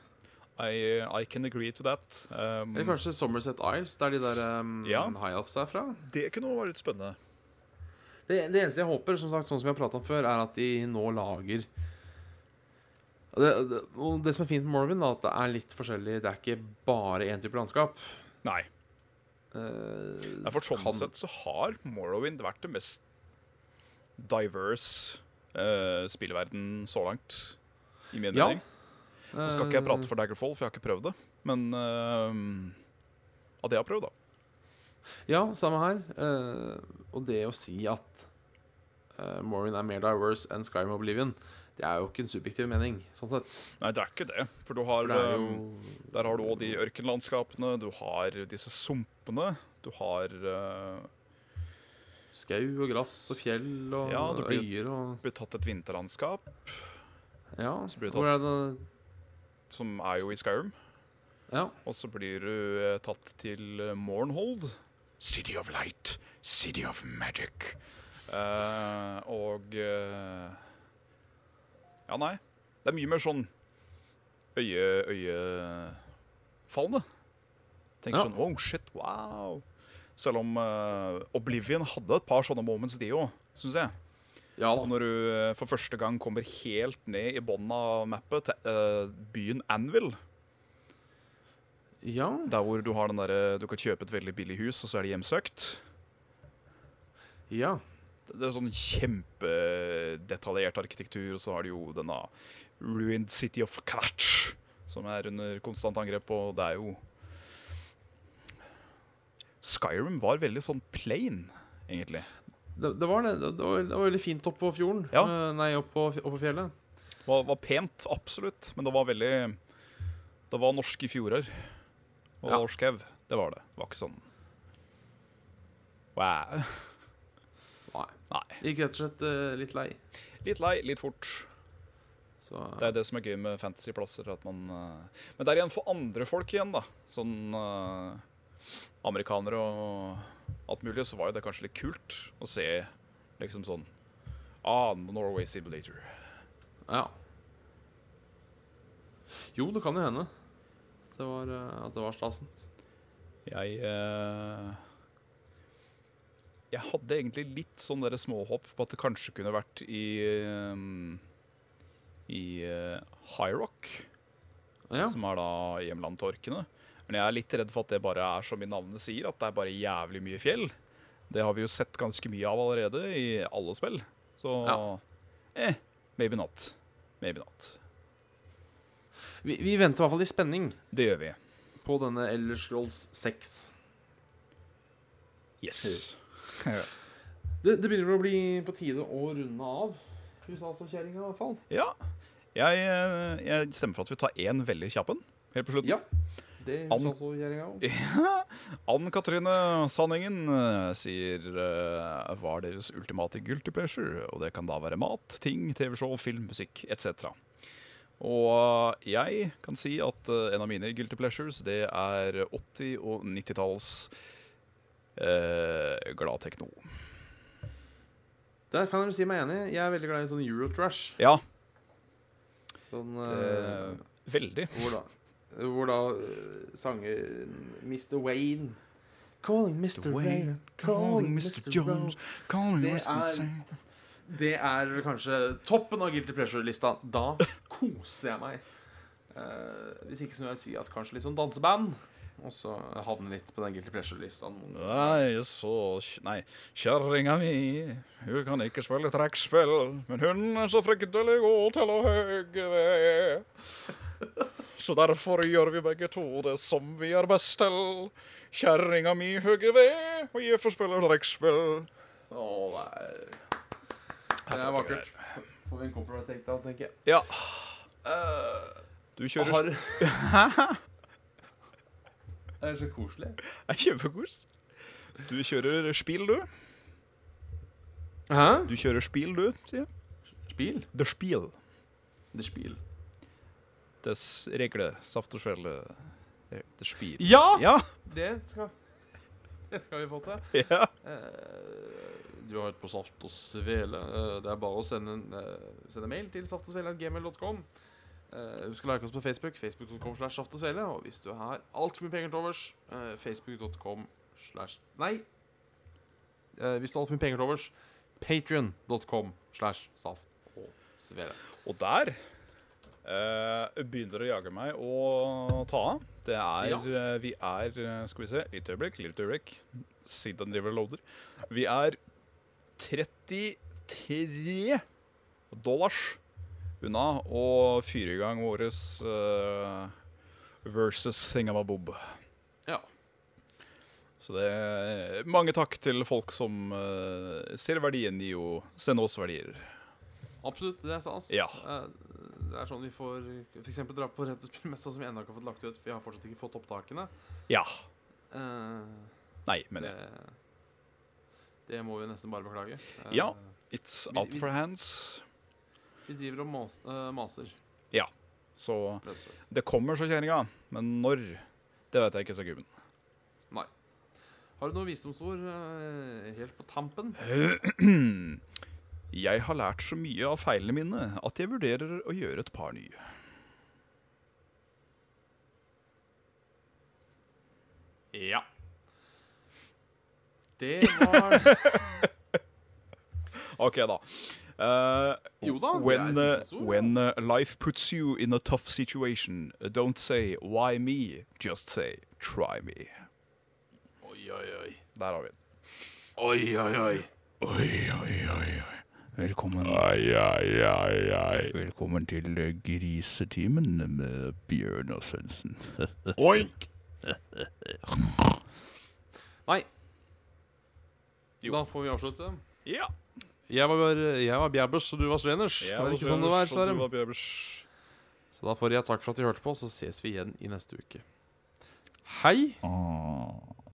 B: I, I can agree to that. Um,
A: Eller kanskje Somerset Isles, der de der um,
B: Ja.
A: high-offs er fra.
B: Det kunne vært litt spennende.
A: Det, det eneste jeg håper, som sagt, sånn som vi har prata om før, er at de nå lager og det, det, og det som er fint med Morrowind, er at det er litt forskjellig. Det er ikke bare én type landskap.
B: Nei.
A: Eh,
B: Nei, for sånn
A: kan-
B: sett så har Morrowind vært det mest diverse uh, spilleverden så langt, i min
A: Ja. eh,
B: mening. Nå skal ikke jeg prate for Daggerfall, for jeg har ikke prøvd det. Men eh, av det jeg har prøvd, da.
A: Ja, samme her. Eh, og det å si at uh, Morrowind er mer diverse enn Skyrim Oblivion, det er jo ikke en subjektiv mening, sånn sett.
B: Nei, det er ikke det. For du
A: For
B: har
A: det er
B: um,
A: jo
B: Der har du òg de ørkenlandskapene, du har disse sumpene, du har eh,
A: skau og gress og fjell og
B: Ja, det blir-
A: øyer og
B: blitt tatt et vinterlandskap,
A: Ja.
B: Så blir det
A: Hvor er det
B: som er jo i Skyrim.
A: Ja.
B: Og så blir du eh, tatt til eh, Mornhold. City of Light, City of Magic. Eh, og eh, Ja, nei. Det er mye mer sånn øye, øyefallende. Tenk
A: Ja.
B: sånn Oh, shit, wow. Selv om eh, Oblivion hadde et par sånne moments, de òg, syns jeg.
A: Ja da.
B: Og når du eh, for første gang kommer helt ned i bånn av mappet til eh, byen Anvil,
A: Ja.
B: der hvor du, har den der, du kan kjøpe et veldig billig hus, og så er det hjemsøkt
A: ja.
B: Det er sånn kjempedetaljert arkitektur, og så har du jo denne Ruined City of Kvatch, som er under konstant angrep, og det er jo Skyrim var veldig sånn plain, egentlig.
A: Det, det var det. Det det var, det var veldig fint oppe på fjorden.
B: Ja.
A: Eh, Nei, oppe på, opp på fjellet.
B: Det var, var pent, absolutt, men det var veldig Det var norske fjorder og
A: Ja.
B: norsk hev. Det var det. Det var ikke sånn Wow. *laughs*
A: Nei.
B: Nei.
A: Gikk rett og slett eh, litt lei.
B: Litt lei, litt fort.
A: Så
B: Det er det som er gøy med fantasyplasser. At man, eh, men det er igjen for andre folk igjen, da. Sånn eh, amerikanere og alt mulig, så var jo det kanskje litt kult å se liksom sånn Ah, Norway Simulator.
A: Ja. Jo, det kan jo hende. Det var, eh, at det var stasent.
B: Jeg eh, Jeg hadde egentlig litt sånn der småhopp på at det kanskje kunne vært i eh, I eh, High Rock.
A: Ja.
B: som er da hjemlandet til orkene. Men jeg er litt redd for at det bare er som i navnet sier, at det er bare jævlig mye fjell. Det har vi jo sett ganske mye av allerede i alle spill. Så
A: Ja.
B: eh, maybe not. Maybe not.
A: Vi, vi venter i hvert fall i spenning
B: Det gjør vi.
A: på denne Elder Scrolls 6.
B: Yes.
A: Det, det begynner å bli på tide å runde av husasavkjerringa, i hvert fall.
B: ja. Jeg, eh, jeg stemmer for at vi tar én veldig kjapp en helt på slutten.
A: Ja. Det er
B: An-
A: husasavkjerringa òg.
B: Ann Katrine Sanningen eh, sier eh, hva er deres ultimate guilty pleasure? Og det kan da være mat, ting, TV-show, film, musikk etc. Og eh, jeg kan si at eh, en av mine guilty pleasures det er 80- og 90-talls eh, glad tekno.
A: Der kan dere si meg enig. Jeg er veldig glad i sånn Eurotrash.
B: Ja,
A: Sånn,
B: eh,
A: eh,
B: veldig.
A: Hvor da, hvor da eh, sanger Mr. Wayne Calling Mr. Wayne, calling Mr. Jones
B: calling
A: Det
B: Mr.
A: er-
B: Sane.
A: Det er kanskje toppen av Guilty Pleasure-lista. Da koser jeg meg. Eh, hvis ikke så må jeg si at kanskje litt sånn danseband. Og så havne litt på den Guilty Pleasure-lista.
B: Nei, så Nei, kjerringa mi, hun kan ikke spille trekkspill, men hun er så fryktelig god til å høge ved. Så derfor gjør vi begge to det som vi er best til. Kjerringa mi høger ved, og jeg får spille trekkspill.
A: Å, det er, det er vakkert. Får vi en copyright takedown, tenker jeg.
B: Ja.
A: Eh,
B: Du kjører
A: har... *laughs* det er så koselig.
B: Det er kjempekos. Du kjører spill, du.
A: Hæ?
B: Du kjører spill, du, sier jeg.
A: Spil?
B: Det er spill.
A: Det er spil.
B: Des regler, saft og skjell. Det er spill.
A: Ja!
B: Ja.
A: Det skal, det skal vi få til.
B: ja.
A: Eh, du har hørt på Saft og Svele. Eh, det er bare å sende, en, eh, sende mail til saftogsvele.gmail.com. Eh, husk å like oss på Facebook, facebook.com slash saft og svele. Og hvis du har altfor mye penger til overs, eh, facebook.com slash Nei. Eh, hvis du har altfor mye penger til overs, patrion.com slash saft og svele.
B: Og der eh, begynner det å jage meg å ta av. Det er eh, Vi er eh, Skal vi se, litt øyeblikk, litt øyeblikk. Siden driver og loader. Vi er 33 dollars unna å fyre i gang vår versus thingamabob.
A: Ja.
B: Så det er mange takk til folk som eh, ser verdien i å sende oss verdier.
A: Absolutt, det er stas.
B: Ja.
A: Eh, Det er sånn vi får f.eks. dra på Rett og Spill-messa, som vi ennå ikke har fått lagt ut. For vi har fortsatt ikke fått opptakene.
B: Ja.
A: Eh,
B: Nei, men jeg.
A: det, det må vi nesten bare beklage. Eh,
B: Ja. It's
A: Vi-
B: out
A: vi-
B: for hands.
A: Vi driver og mas, eh, maser,
B: Så
A: rett og slett.
B: det kommer så kjerringa, men når? Det vet jeg ikke, sa gubben.
A: Har du noen visdomsord eh, helt på tampen?
B: Jeg har lært så mye av feilene mine at jeg vurderer å gjøre et par nye.
A: Ja. Det var
B: OK, da. Eh,
A: Jo da, det
B: when,
A: er altså.
B: eh,
A: visesord,
B: when eh, life puts you in a tough situation, don't say 'why me', just say 'try me'.
A: Oi, oi, oi.
B: Der har vi den.
A: Oi, oi, oi.
B: Oi, oi, oi. Velkommen. Velkommen til eh, grisetimen med Bjørn og Svendsen.
A: Oink! Nei.
B: *laughs* Jo.
A: Da får vi avslutte.
B: Ja.
A: Jeg var, jeg var Bjabbers, og du var Sveners.
B: Jeg
A: var
B: var
A: det ikke sånn det var,
B: Bjøbers, og
A: Sverre?
B: du var Bjøbers.
A: Så da får jeg takk for at de hørte på, så ses vi igjen i neste uke. Hei!
B: Ah.